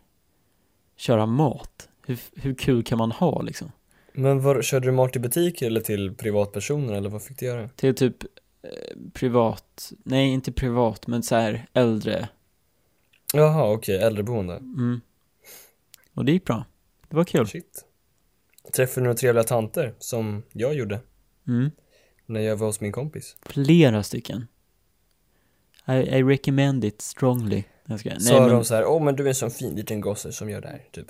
köra mat. Hur, hur kul kan man ha liksom? Men var, körde du mat till butiker eller till privatpersoner eller vad fick du göra? Till typ eh, privat, nej inte privat men så här äldre. Jaha okej, äldreboende. Mm. Och det gick bra. Det var kul. Shit. Träffade du några trevliga tanter som jag gjorde Mm. när jag var hos min kompis? Flera stycken. I, I recommend it strongly. Jag ska, Sa men- de så här, åh men du är en sån fin liten gosse som gör det här, typ.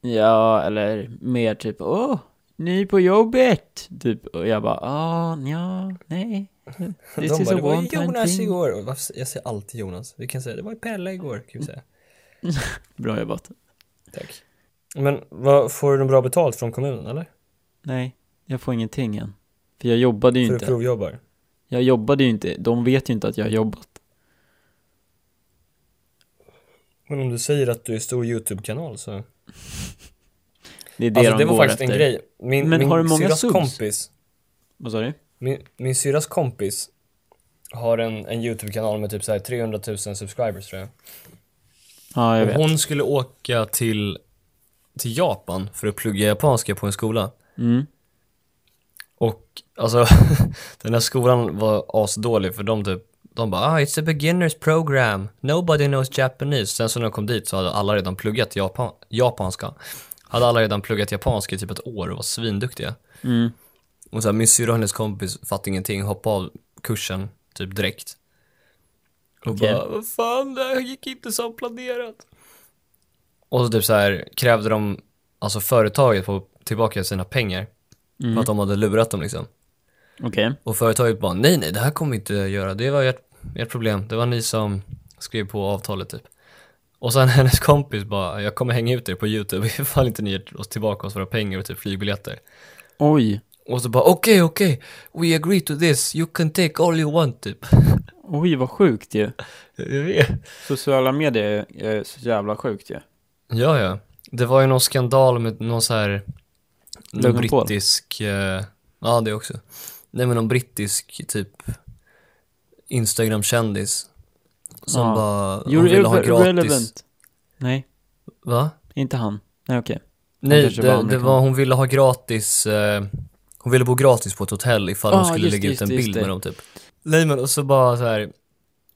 Ja, eller mer typ åh, ny på jobbet! Typ, och jag bara ah, ja, nej. *laughs* This is de bara, a det var one ju time Jonas thing. igår. Och varför sä- Jag säger alltid Jonas. Vi kan säga, det var ju Pelle igår, kan vi säga. Bra jobbat. Tack. Men vad, får du bra betalt från kommunen eller? Nej, jag får ingenting än. För jag jobbade ju För att du inte. provjobbar? Jag jobbade ju inte. De vet ju inte att jag har jobbat. Men om du säger att du är stor YouTube-kanal så... Det är det Alltså de det var går faktiskt efter. en grej. Min, Men min har du många syrras subs? kompis, Vad sa du? min, min syrras kompis har en, en YouTube-kanal med typ så här 300 000 subscribers tror jag. Ja, jag Och vet. Hon skulle åka till, till Japan för att plugga japanska på en skola. Mm. Och alltså, *laughs* den här skolan var asdålig för de typ, de bara ah, it's a beginners program, nobody knows Japanese. Sen så när de kom dit så hade alla redan pluggat Japan, japanska. Hade alla redan pluggat japanska i typ ett år och var svinduktiga. Mm. Och så här, min syrra och hennes kompis fattade ingenting, hoppade av kursen typ direkt. Och Okej. bara, vad fan, det här gick inte som planerat. Och så typ så här krävde de, alltså företaget på tillbaka sina pengar. Mm. För att de hade lurat dem liksom. Okej. Och företaget bara, nej nej, det här kommer vi inte göra, det var ert, ert problem, det var ni som skrev på avtalet typ. Och sen *laughs* hennes kompis bara, jag kommer hänga ut er på YouTube *laughs* ifall inte ni ger oss tillbaka oss våra pengar och typ flygbiljetter. Oj. Och så bara okej, okej, we agree to this, you can take all you want typ. *laughs* Oj, vad sjukt ju. Jag vet. Sociala medier är så jävla sjukt ju. Ja, ja. Det var ju någon skandal med någon så här, någon Logan Paul. brittisk, eh, ja det också. Nej men någon brittisk typ Instagram-kändis. Som Ja. bara, hon You're ville ha gratis. irrelevant. Nej, Va? inte han. Nej, okej. Nej, kanske det, var det var, hon ville ha gratis, eh, hon ville bo gratis på ett hotell ifall Ah, hon skulle just lägga det, ut just en det, just bild det. med dem typ. Nej men och så bara så här.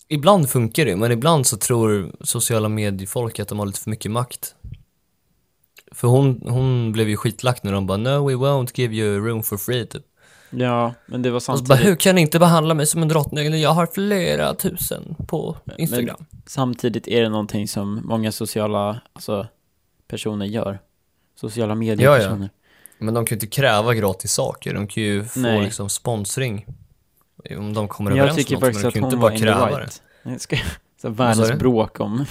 ibland funkar det men ibland så tror sociala mediefolk att de har lite för mycket makt. För hon, hon blev ju skitlack när de bara no we won't give you room for free typ. Ja, men det var Och så Alltså, bara samtidigt. hur kan ni inte behandla mig som en drottning eller jag har flera tusen på Men- Instagram. Samtidigt är det någonting som många sociala alltså, personer gör. Sociala Ja, ja. mediepersoner. Men de kan ju inte kräva gratis saker, de kan ju få Nej. liksom sponsring. Om de kommer Men Jag överens tycker om något, faktiskt men att de kan ju inte hon bara var in the kräva det. right. Nej, ska, *laughs* så Vad världens sa du? bråk om...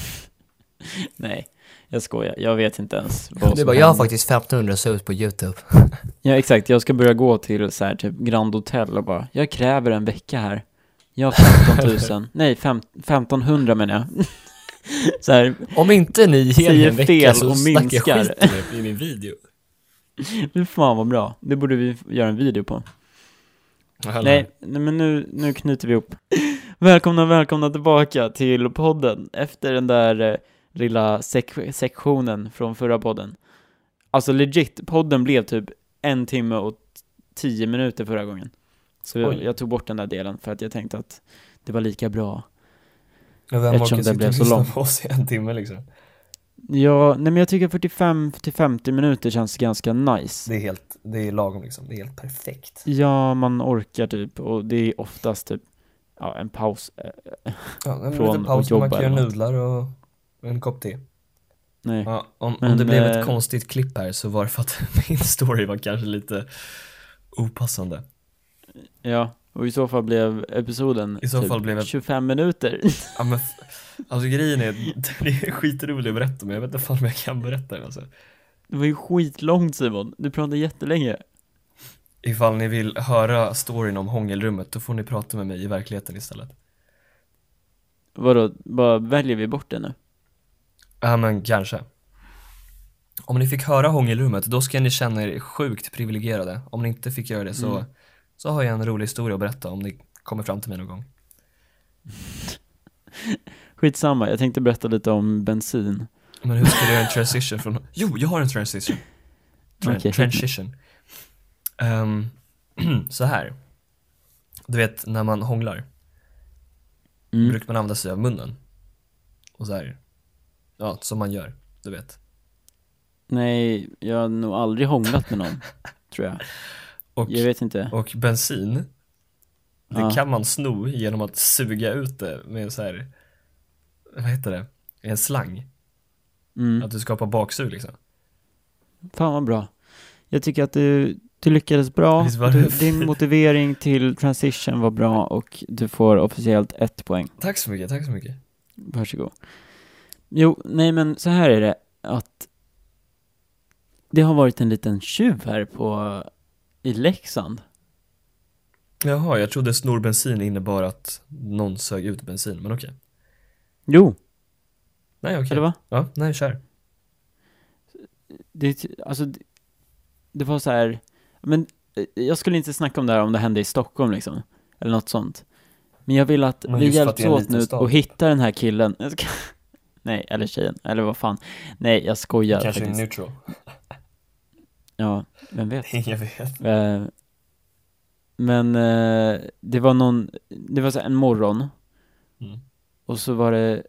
*laughs* Nej, jag skojar. Jag vet inte *laughs* ens vad Det är som bara, jag har händer. faktiskt 1500 subs på YouTube. Ja, exakt. Jag ska börja gå till så här, typ Grand Hotel och bara, jag kräver en vecka här. Jag har 15 *laughs* 000. Nej, fem, 1500 menar jag. *laughs* så här, *laughs* Om inte ni ger mig Säger en vecka fel så och snackar jag minskar. skiten i- i min video. fy fan vad bra. Det borde vi göra en video på. Nej, nej men nu, nu knyter vi ihop. *laughs* Välkomna, välkomna tillbaka till podden efter den där eh, lilla sek- sektionen från förra podden. Alltså legit, podden blev typ en timme och t- tio minuter förra gången. Så jag, Oj. jag tog bort den där delen för att jag tänkte att det var lika bra. Men vem Eftersom den orkar sitta och blev så lyssna lång. på oss i en timme liksom? Ja, nej men jag tycker 45 till 50 minuter känns ganska nice. Det är helt det är lagom liksom, det är helt perfekt. Ja, man orkar typ och det är oftast typ ja, en paus. Eh, Ja, en Från liten att paus, jobba man kan eller göra något. nudlar och en kopp te. Nej. Ja, om, om Men, det blev ett eh, konstigt klipp här så var det för att *laughs* min story var kanske lite opassande. Ja, och i så fall blev episoden I så fall blev det- 25 minuter. *laughs* Ja, men, f- alltså grejen är, *laughs* det är skitroligt att berätta men jag vet inte fan om jag kan berätta det alltså. Det var ju skitlångt Simon, du pratade jättelänge. Ifall ni vill höra storyn om hångelrummet då får ni prata med mig i verkligheten istället. Vadå, bara väljer vi bort det nu? Ja men kanske. Om ni fick höra hångelrummet då ska ni känna er sjukt privilegierade. Om ni inte fick göra det så, Mm. så har jag en rolig historia att berätta om ni kommer fram till mig någon gång. Skitsamma, jag tänkte berätta lite om bensin. Men hur ska du göra en transition från... *laughs* Jo, jag har en transition. Tran- Okej. Transition. Ehm, *clears throat* så här. Du vet, när man hånglar Mm. brukar man använda sig av munnen. Och så här. Ja, som man gör. Du vet. Nej, jag har nog aldrig hånglat med *laughs* någon, tror jag. Och, Jag vet inte. och bensin, det Ja. kan man sno genom att suga ut det med så här. Vad heter det? En slang. Mm. Att du skapar baksug liksom. Fan vad bra. Jag tycker att du, du lyckades bra. Visst var det Du, fint? din motivering till transition var bra och du får officiellt ett poäng. Tack så mycket, tack så mycket. Varsågod. Jo, nej men så här är det att det har varit en liten tjuv här på i Leksand. Jaha, jag trodde snor bensin innebar att någon sög ut bensin, men okej. Jo, Nej okej. eller va? Ja, nej kör. Det, är ty- alltså, det, det var så här, men eh, jag skulle inte snacka om det här om det hände i Stockholm liksom, eller något sånt. Men jag vill att Men vi just för hjälps att det är en åt liten nu stad. och hitta den här killen. *laughs* Jag ska- Nej, eller tjejen, eller vad fan. Nej, jag skojar faktiskt. neutral. *laughs* Ja, vem vet. Jag vet. Eh, men eh, det var någon, det var så här en morgon Mm. och så var det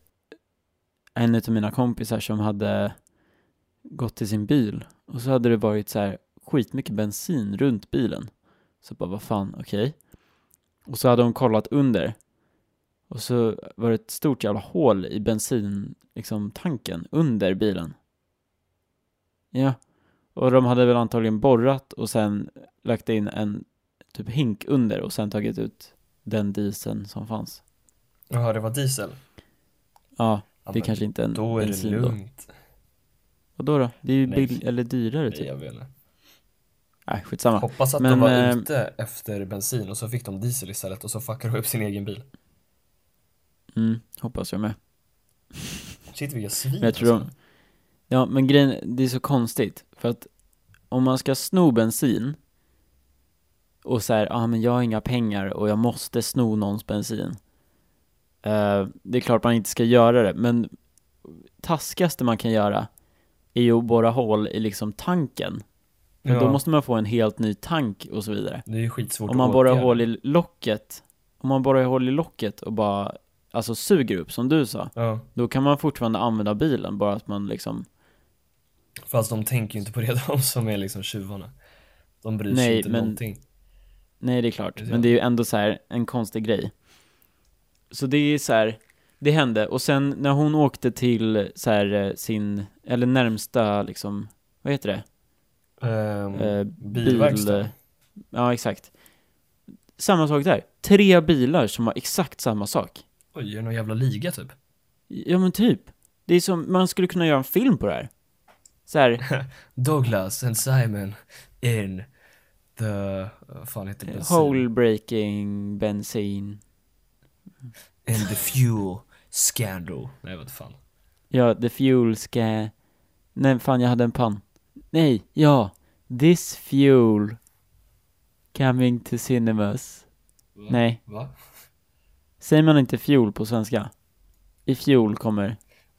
en utav mina kompisar som hade gått till sin bil och så hade det varit så här skitmycket bensin runt bilen. Så bara, vad fan, okej. Och så hade hon kollat under och så var det ett stort jävla hål i bensin, liksom tanken under bilen. Ja. Och de hade väl antagligen borrat och sen lagt in en typ hink under och sen tagit ut den dieseln som fanns. Jaha, det var diesel. Ja, Ja, det men kanske inte är en Då är det bensin då. lugnt. Och då då? Det är ju Nej. bill- eller dyrare typ. Nej, Nej, jag vet inte. skitsamma. Hoppas att Men, de var eh, ute efter bensin och så fick de diesel istället och så fuckade de upp sin egen bil. Mm, hoppas jag med. Shit vilka svin Men jag tror de... alltså. Ja, men grejen, det är så konstigt. För att om man ska sno bensin och så här, ja ah, men jag har inga pengar och jag måste sno någons bensin. Eh, det är klart man inte ska göra det, men taskigaste man kan göra är ju att borra hål i liksom tanken. Men ja, då måste man få en helt ny tank och så vidare. Det är ju skitsvårt Om man att borrar åtgärda. hål i locket, om man borrar hål i locket och bara, alltså suger upp som du sa, Ja, då kan man fortfarande använda bilen, bara att man liksom fast de tänker ju inte på det *laughs* de som är liksom tjuvarna. De bryr sig Nej, inte men- någonting. Nej, det är klart. Det är Men det är ju ändå så här en konstig grej. Så det är så här, det hände. Och sen när hon åkte till så här eh, sin, eller närmsta liksom, vad heter det? Ehm, Eh, bilverkstad. bil- Ja, exakt. Samma sak där. Tre bilar som har exakt samma sak. Oj, är det någon jävla liga typ? Ja, men typ. Det är som, man skulle kunna göra en film på det här. Så här, Douglas and Simon in the, vad fan heter det? eh, Bensin. hole breaking, bensin. In the fuel scandal. Nej, vad fan. Ja, the fuel ska... Nej, fan jag hade en pann. Nej, ja. This fuel coming to cinemas. Va? Nej, Va? *laughs* säger man inte fuel på svenska? I fuel kommer...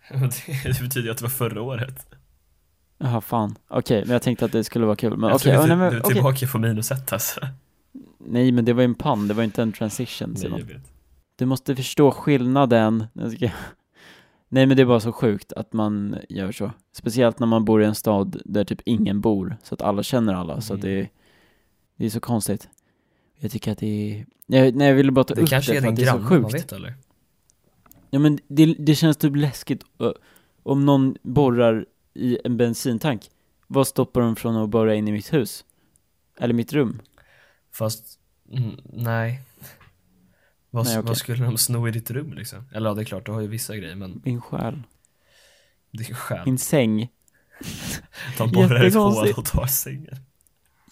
Det betyder ju att det var förra året. Jaha, fan. Okej, men jag tänkte att det skulle vara kul. Men jag okej, tror ja, du, nej, är men, typ du är okej. tillbaka på minus ett alltså. nej, men det var ju en pann, det var inte en transition Nej, jag Simon. vet. Du måste förstå skillnaden. Nej, jag ska- Nej men det är bara så sjukt att man gör så. Speciellt när man bor i en stad där typ ingen bor, så att alla känner alla, så att Mm. det, det är så konstigt. Jag tycker att det är... Nej, nej jag ville bara ta Det upp det kanske för är din att det är så granne, man sjukt. vet eller? Ja men det, det känns typ läskigt ö, om någon borrar i en bensintank. Vad stoppar de från att borra in i mitt hus? Eller mitt rum? Fast, mm, nej. Vad, Nej, okej. vad skulle de sno i ditt rum liksom? Eller ja, det är klart, du har ju vissa grejer men Min själ? det är ju skämt. Min säng? De borrar ett hål jättekonstigt. och tar sängen.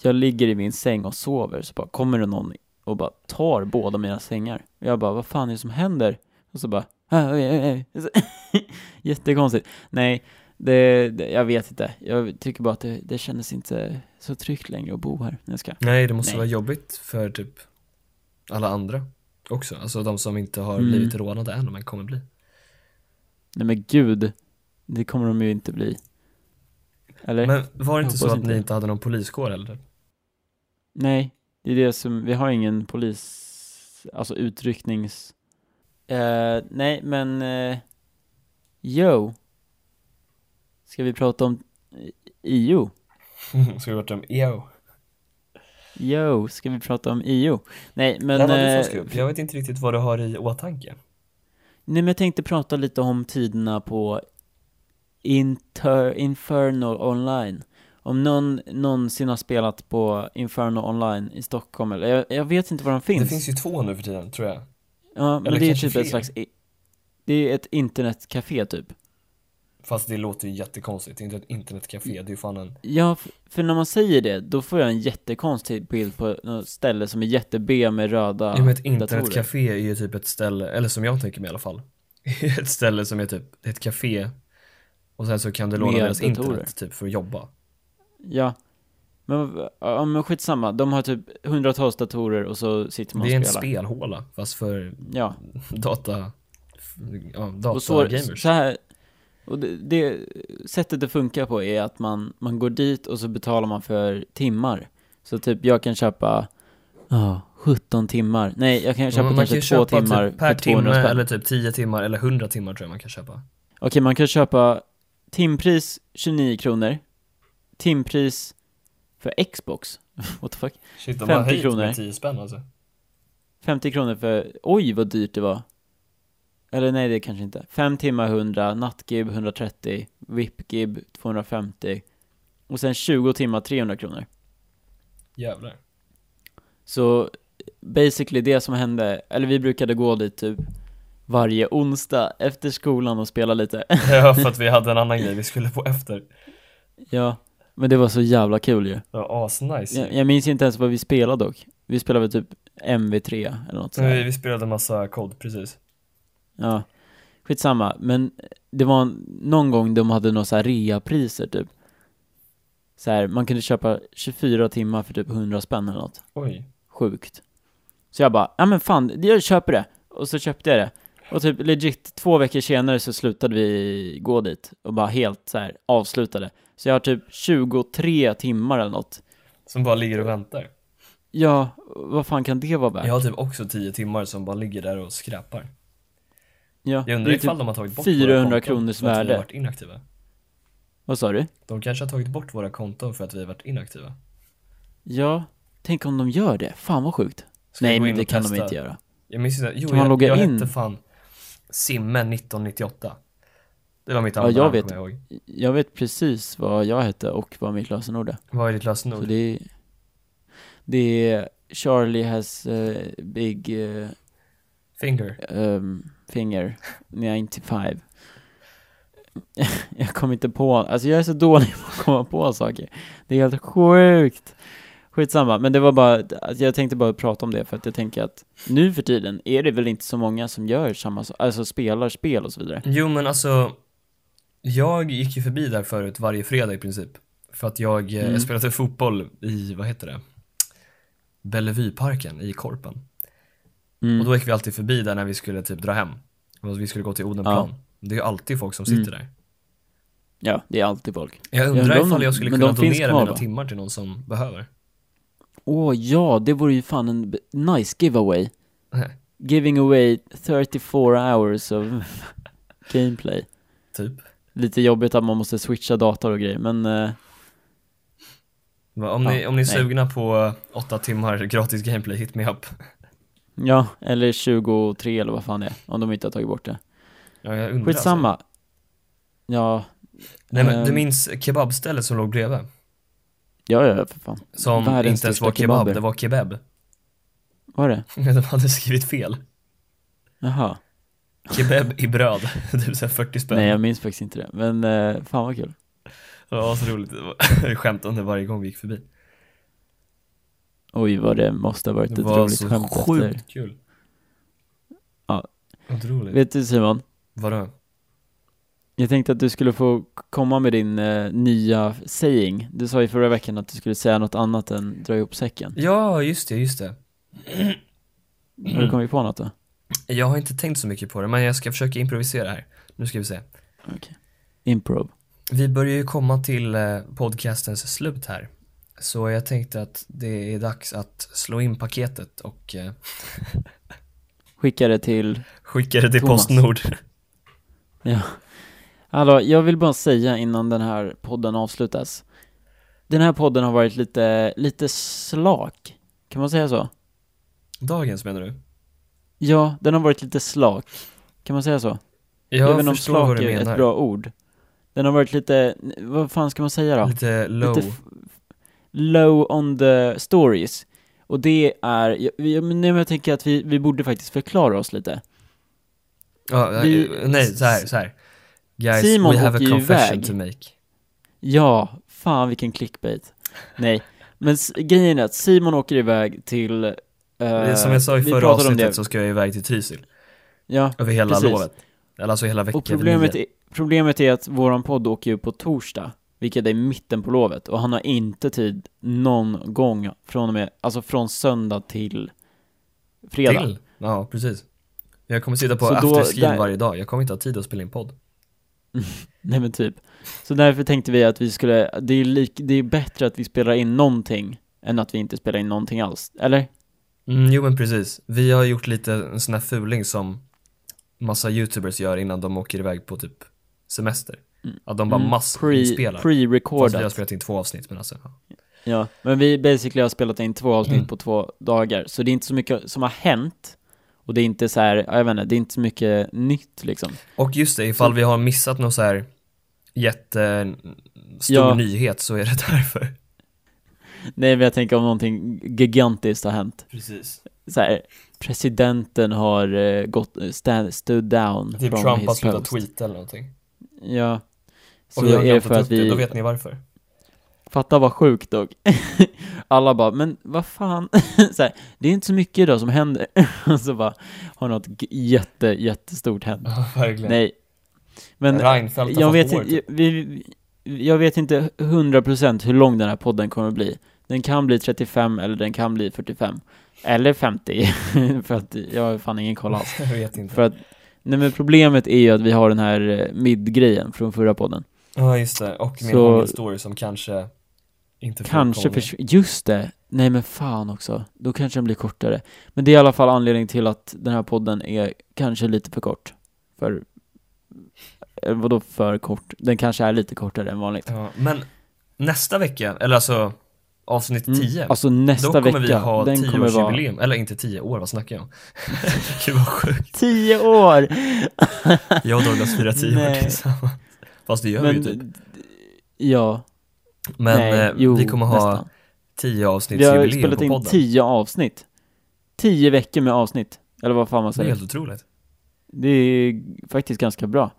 Jag ligger i min säng och sover, så bara kommer det någon och bara tar båda mina sängar. Och jag bara, vad fan är det som händer? Och så bara, "Ah, oj, oj, *laughs* oj." Jättekonstigt. Nej, det, det, jag vet inte. Jag tycker bara att det, det kändes inte så tryggt längre att bo här. Jag ska. Nej, det måste Nej. vara jobbigt för typ alla andra också. Alltså de som inte har Mm. blivit rånade än, men kommer bli. Nej men gud, det kommer de ju inte bli. Eller? Men var det Jag inte så hoppas att inte ni det. inte hade någon poliskår *laughs* eller? Nej, det är det som, vi har ingen polis, alltså utrycknings... Eh, nej, men... eh, yo! Ska vi prata om eh, IO? Skulle varit om EO. Yo, ska vi prata om IO? Nej, men... Men, Nej, eh, du som jag vet inte riktigt vad du har i åtanke. nej, men jag tänkte prata lite om tiderna på Inter, Inferno Online. Om någon någonsin har spelat på Inferno Online i Stockholm, eller jag, jag vet inte var de Det finns ju två nu för tiden, tror jag. Ja, men Eller det är kanske typ fler. ett slags, i- det är ett internetcafé typ. Fast det låter ju jättekonstigt, det är inte ett internetcafé, det är ju fan en... Ja, f- för när man säger det, då får jag en jättekonstig bild på något ställe som är jätte-B med röda Ja, men ett datorer. internetcafé är ju typ ett ställe, eller som jag tänker mig i alla fall, *laughs* är ett ställe som är typ ett café och sen så kan du låna Med deras datorer. internet typ för att jobba. Ja. Men, v- ja, men skitsamma, de har typ hundratals datorer och så sitter man Det är en och spelar. spelhåla, fast för *laughs* Ja, data... Ja, och så, datagamers. så här, och det, det sättet det funkar på är att man, man går dit och så betalar man för timmar. Så typ jag kan köpa, ja, 17 timmar. Nej, jag kan köpa Man kanske kan ju två köpa timmar typ per för 200 timme spänn. eller typ 10 timmar eller 100 timmar tror jag man kan köpa. Okej, man kan köpa timpris 29 kronor, timpris för Xbox, *laughs* what the fuck, Shit, de har 50 höjt kronor. med 10 spänn alltså. 50 kronor för, oj vad dyrt det var. Eller nej, det kanske inte. 5 timmar 100, nattgib 130, vipgib 250 och sen 20 timmar 300 kronor. *laughs* Jävlar. Så basically det som hände, eller vi brukade gå dit typ varje onsdag efter skolan och spela lite. *laughs* ja, för att vi hade en annan grej vi skulle på efter. ja, men det var så jävla kul ju. Det var asnice. Jag, jag minns inte ens vad vi spelade dock. Vi spelade väl typ MV3 eller något sånt. Så vi, där. vi spelade massa kod, precis. Ja, skitsamma. Men det var en- någon gång de hade några så här reapriser typ. Så här, man kunde köpa 24 timmar för typ 100 spänn eller något. Oj. Sjukt. Så jag bara, ja men fan, jag köper det. Och så köpte jag det. Och typ legit två veckor senare så slutade vi gå dit och bara helt så här avslutade. Så jag har typ 23 timmar eller något. Som bara ligger och väntar. Ja, vad fan kan det vara värt? Jag har typ också 10 timmar som bara ligger där och skräpar. Ja, Jag det undrar är typ- ifall de har tagit bort 400 våra konton kronors för att vi värde. har varit inaktiva. Vad sa du? De kanske har tagit bort våra konton för att vi har varit inaktiva. Ja, tänk om de gör det. Fan vad sjukt. Ska vi Nej, gå men in det och kan de testa? inte göra. Jag minns inte, jo Kan man jag, logga jag in? hette fan Simme 1998 Det var mitt Ja, andra jag namn, vet. kommer jag ihåg Jag vet precis vad jag hette och vad mitt lösenord är. Vad är ditt Så lösenord? det är, det är Charlie has eh, big eh, Finger um, finger 95. *laughs* jag kommer inte på, alltså jag är så dålig på att komma på saker. Det är helt sjukt. Skitsamma, men det var bara, alltså jag tänkte bara prata om det för att jag tänker att nu för tiden är det väl inte så många som gör samma sak, alltså spelar spel och så vidare. Jo men alltså Jag gick ju förbi där förut varje fredag i princip För att jag, eh, Mm. jag spelade fotboll i, vad heter det? Bellevueparken i Korpen Mm. Och då gick vi alltid förbi där när vi skulle typ dra hem och Vi skulle gå till Odenplan Det är ju alltid folk som sitter Mm. där Ja, det är alltid folk. Jag undrar undrar om ifall de- jag skulle men kunna de finns donera kvar, mina va? timmar till någon som behöver Åh ja, det vore ju fan en b- *laughs* nice giveaway. Nej. Giving away 34 hours of *laughs* gameplay. Typ. Lite jobbigt att man måste switcha dator och grejer, men eh, Va, Om Ja, ni, om ni är nej. sugna på åtta timmar gratis gameplay, hit me up. ja, eller 23 eller vad fan det är, om de inte har tagit bort det. Ja, jag undrar Skitsamma. Ja, Alltså. Nej men du Ehm. minns kebabstället som låg bredvid? ja, ja, för fan. Som Världens inte ens var största kebab, kebaber. det var kebab. *laughs* Var det? Men de hade skrivit fel. Jaha. Kebab i bröd, *laughs* typ såhär 40 spänn. Nej, jag minns faktiskt inte det, men eh, fan vad kul. Det var *laughs* så roligt, jag skämtade om det varje gång vi gick förbi. Oj, vad det måste ha varit ett Det var roligt så skämt efter. sjukt kul. Ja. Otroligt. Vet du Simon? Vadå? Jag tänkte att du skulle få komma med din eh, nya saying. Du sa ju förra veckan att du skulle säga något annat än dra ihop säcken. Ja, just det, just det. Har Mm. du kommit på något då? Jag har inte tänkt så mycket på det, men jag ska försöka improvisera här. Nu ska vi se. Improv. Vi börjar ju komma till eh, podcastens slut här. Så jag tänkte att det är dags att slå in paketet och eh, Skicka det till... skicka det till Thomas. Postnord. Hallå, jag vill bara säga innan den här podden avslutas. Den här podden har varit lite, lite slak. Kan man säga så? Dagens menar du? Ja, den har varit lite slak. Kan man säga så? Jag, vet inte om förstår vad slak du är menar. ett bra ord. Den har varit lite, vad fan ska man säga då? Lite low. Lite f- low on the stories. Och det är, jag, jag, men jag tänker att vi, vi borde faktiskt förklara oss lite. ja, vi- eh, nej, så här, så här. Guys, Simon we have a åker ju confession iväg. to make. Ja, fan vilken clickbait. Nej, men s- grejen är att Simon åker iväg till... eh, Det- Som jag sa i vi förra pratade om avsnittet det. så ska jag iväg till Trysil. Ja, Över hela Precis. lovet. Eller alltså hela veckan. och problemet är, problemet är att våran podd åker ju på torsdag, vilket är mitten på lovet, och han har inte tid någon gång från och med, alltså från söndag till fredag. Till? Ja, precis. Jag kommer sitta på Så då- afterskin där- varje dag. Jag kommer inte ha tid att spela in podd. Nej men typ. Så därför tänkte vi att vi skulle, det är, lik, det är bättre att vi spelar in någonting än att vi inte spelar in någonting alls, eller? Mm, jo men precis. Vi har gjort lite en sån här fuling som massa youtubers gör innan de åker iväg på typ semester. Mm. Att de bara Mm, massinspelar. Fast vi har Pre-recordat. spelat in två avsnitt men alltså. ja. ja, men vi basically har spelat in två avsnitt Mm. på två dagar, så det är inte så mycket som har hänt. Och det är inte så här, ja, jag vet inte, det är inte så mycket nytt liksom. Och just det, ifall Så- vi har missat någon så här jättestor Ja. nyhet så är det *laughs* därför. Nej men jag tänker om någonting gigantiskt har hänt. Precis. Så här, presidenten har eh, gått, stand, stood down Typ from Trump his har slutat post. tweeta eller någonting. Ja. Så Om vi har är det glömt för att upp det, vi då vet ni varför. Fatta vad sjukt dock. *laughs* Alla bara, men vad fan, *laughs* så här, det är inte så mycket idag som händer. *laughs* Och så bara, har något g- jätte, jättestort hänt. Ja, verkligen. Nej. Men Reinfeldt har jag fått vet, år, inte, typ. vi, jag vet inte 100% hur lång den här podden kommer att bli. Den kan bli 35 eller den kan bli 45. Eller 50, *laughs* för att *laughs* jag har fan ingen koll alls. Jag vet inte. För att, nej men problemet är ju att vi har den här eh, mid-grejen från förra podden. Ja, just det. Och min Så- ångeststory som kanske inte Kanske förekommer. försvinner, just det! Nej men fan också, då kanske den blir kortare. Men det är i alla fall anledning till att den här podden är kanske lite för kort. För, eh, vadå för kort? Den kanske är lite kortare än vanligt. Ja, men nästa vecka, eller alltså avsnitt Mm, 10, Alltså nästa då kommer vecka, vi ha den kommer vara... 10-årsjubileum. Eller inte 10 år, vad snackar jag om? *laughs* Gud vad sjukt. 10 år! Jag och Douglas firar 10 år Nej. tillsammans. Fast det gör vi ju typ. Men, ja, Men nej, eh, jo, vi kommer ha nästan. 10 Vi har avsnittsjubileum spelat på in podden. 10 avsnitt. 10 veckor med avsnitt, eller vad fan man Det är säger. helt otroligt. Det är faktiskt ganska bra.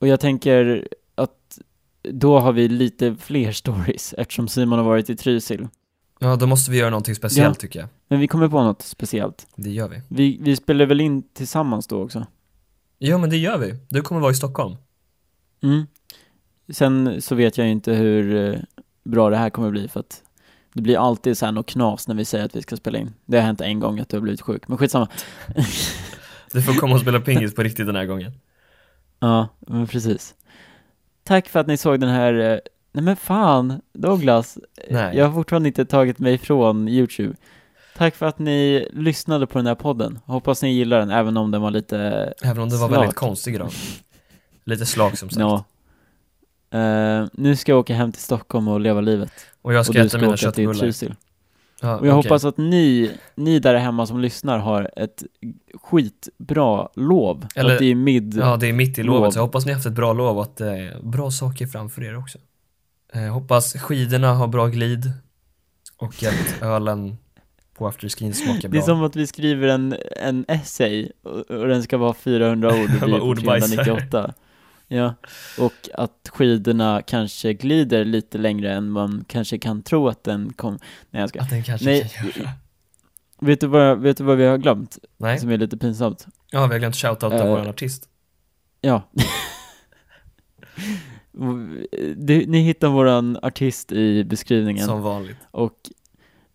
Och jag tänker att då har vi lite fler *laughs* stories eftersom Simon har varit i Trysil. Ja, då måste vi göra någonting speciellt tycker jag. Men vi kommer på något speciellt. Det gör vi. Vi, vi spelar väl in tillsammans då också? Ja, men det gör vi. Du kommer vara i Stockholm. Mm. Sen så vet jag ju inte hur eh, bra det här kommer bli för att det blir alltid så här något knas när vi säger att vi ska spela in. Det har hänt en gång att du har blivit sjuk, men skitsamma. Du får komma och spela pingis på riktigt den här gången. Ja, men precis. Tack för att ni såg den här, eh, nej men fan, Douglas. Nej. Jag har fortfarande inte tagit mig från YouTube. Tack för att ni lyssnade på den här podden. Hoppas ni gillar den, även om den var lite... Även om det var Snart. väldigt konstig idag. Lite slak som sagt. Ja. Eh, nu ska jag åka hem till Stockholm och leva livet. Och jag ska och du äta ska mina åka till köttbullar. Trysil. Ja, Och jag okej. hoppas att ni, ni där hemma som lyssnar har ett skitbra lov. Eller- Eller, att det är mid... Ja, det är mitt i Lov. lovet, så jag hoppas ni har haft ett bra lov och att det är bra saker framför er också. Eh, hoppas skidorna har bra glid och att ölen på afterskin smakar *laughs* det är bra. som att vi skriver en, en essay och, och den ska vara 400 ord och Bara blir på ordbajsare. 398. Ja, och att skidorna kanske glider lite längre än man kanske kan tro att den kom... Nej, jag ska. Att den kanske Nej. kan göra. Vet du vad, vet du vad vi har glömt? Nej, Som är lite pinsamt? ja vi har glömt shoutouta Eh. våran artist. Ja. *laughs* Du, ni hittar våran artist i beskrivningen. Som vanligt. Och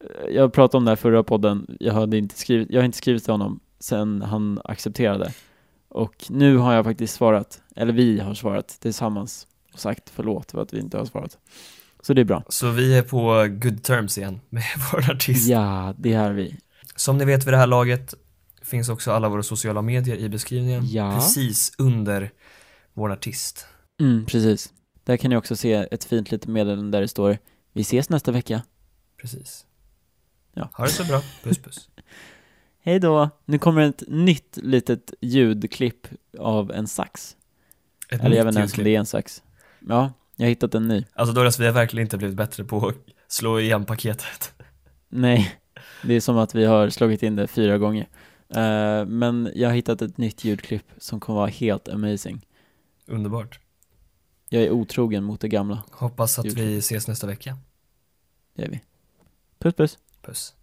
eh, jag pratade om det här förra podden, jag, hade inte skrivit, jag har inte skrivit till honom sen han accepterade. Och nu har jag faktiskt svarat, eller vi har svarat tillsammans och sagt förlåt för att vi inte har svarat. Så det är bra. Så vi är på good terms igen med *laughs* vår artist. Ja, det är vi. Som ni vet vid det här laget finns också alla våra sociala medier i beskrivningen. Ja. Precis under vår artist. Mm, precis. Där kan ni också se ett fint litet meddelande där det står Vi ses nästa vecka. Precis. Ja. Ha det så bra. Puss puss. Hej då! Nu kommer ett nytt litet ljudklipp av en sax. Ett Eller jag vet inte nytt ens om julklipp. det är en sax. Ja, jag har hittat en ny. Alltså Doris, vi har verkligen inte blivit bättre på att slå igen paketet. Nej, det är som att vi har slagit in det fyra gånger. Eh, men jag har hittat ett nytt ljudklipp som kommer vara helt amazing. Underbart. Jag är otrogen mot det gamla, Hoppas att Julklipp. vi ses nästa vecka. det är vi. Puss puss. Puss.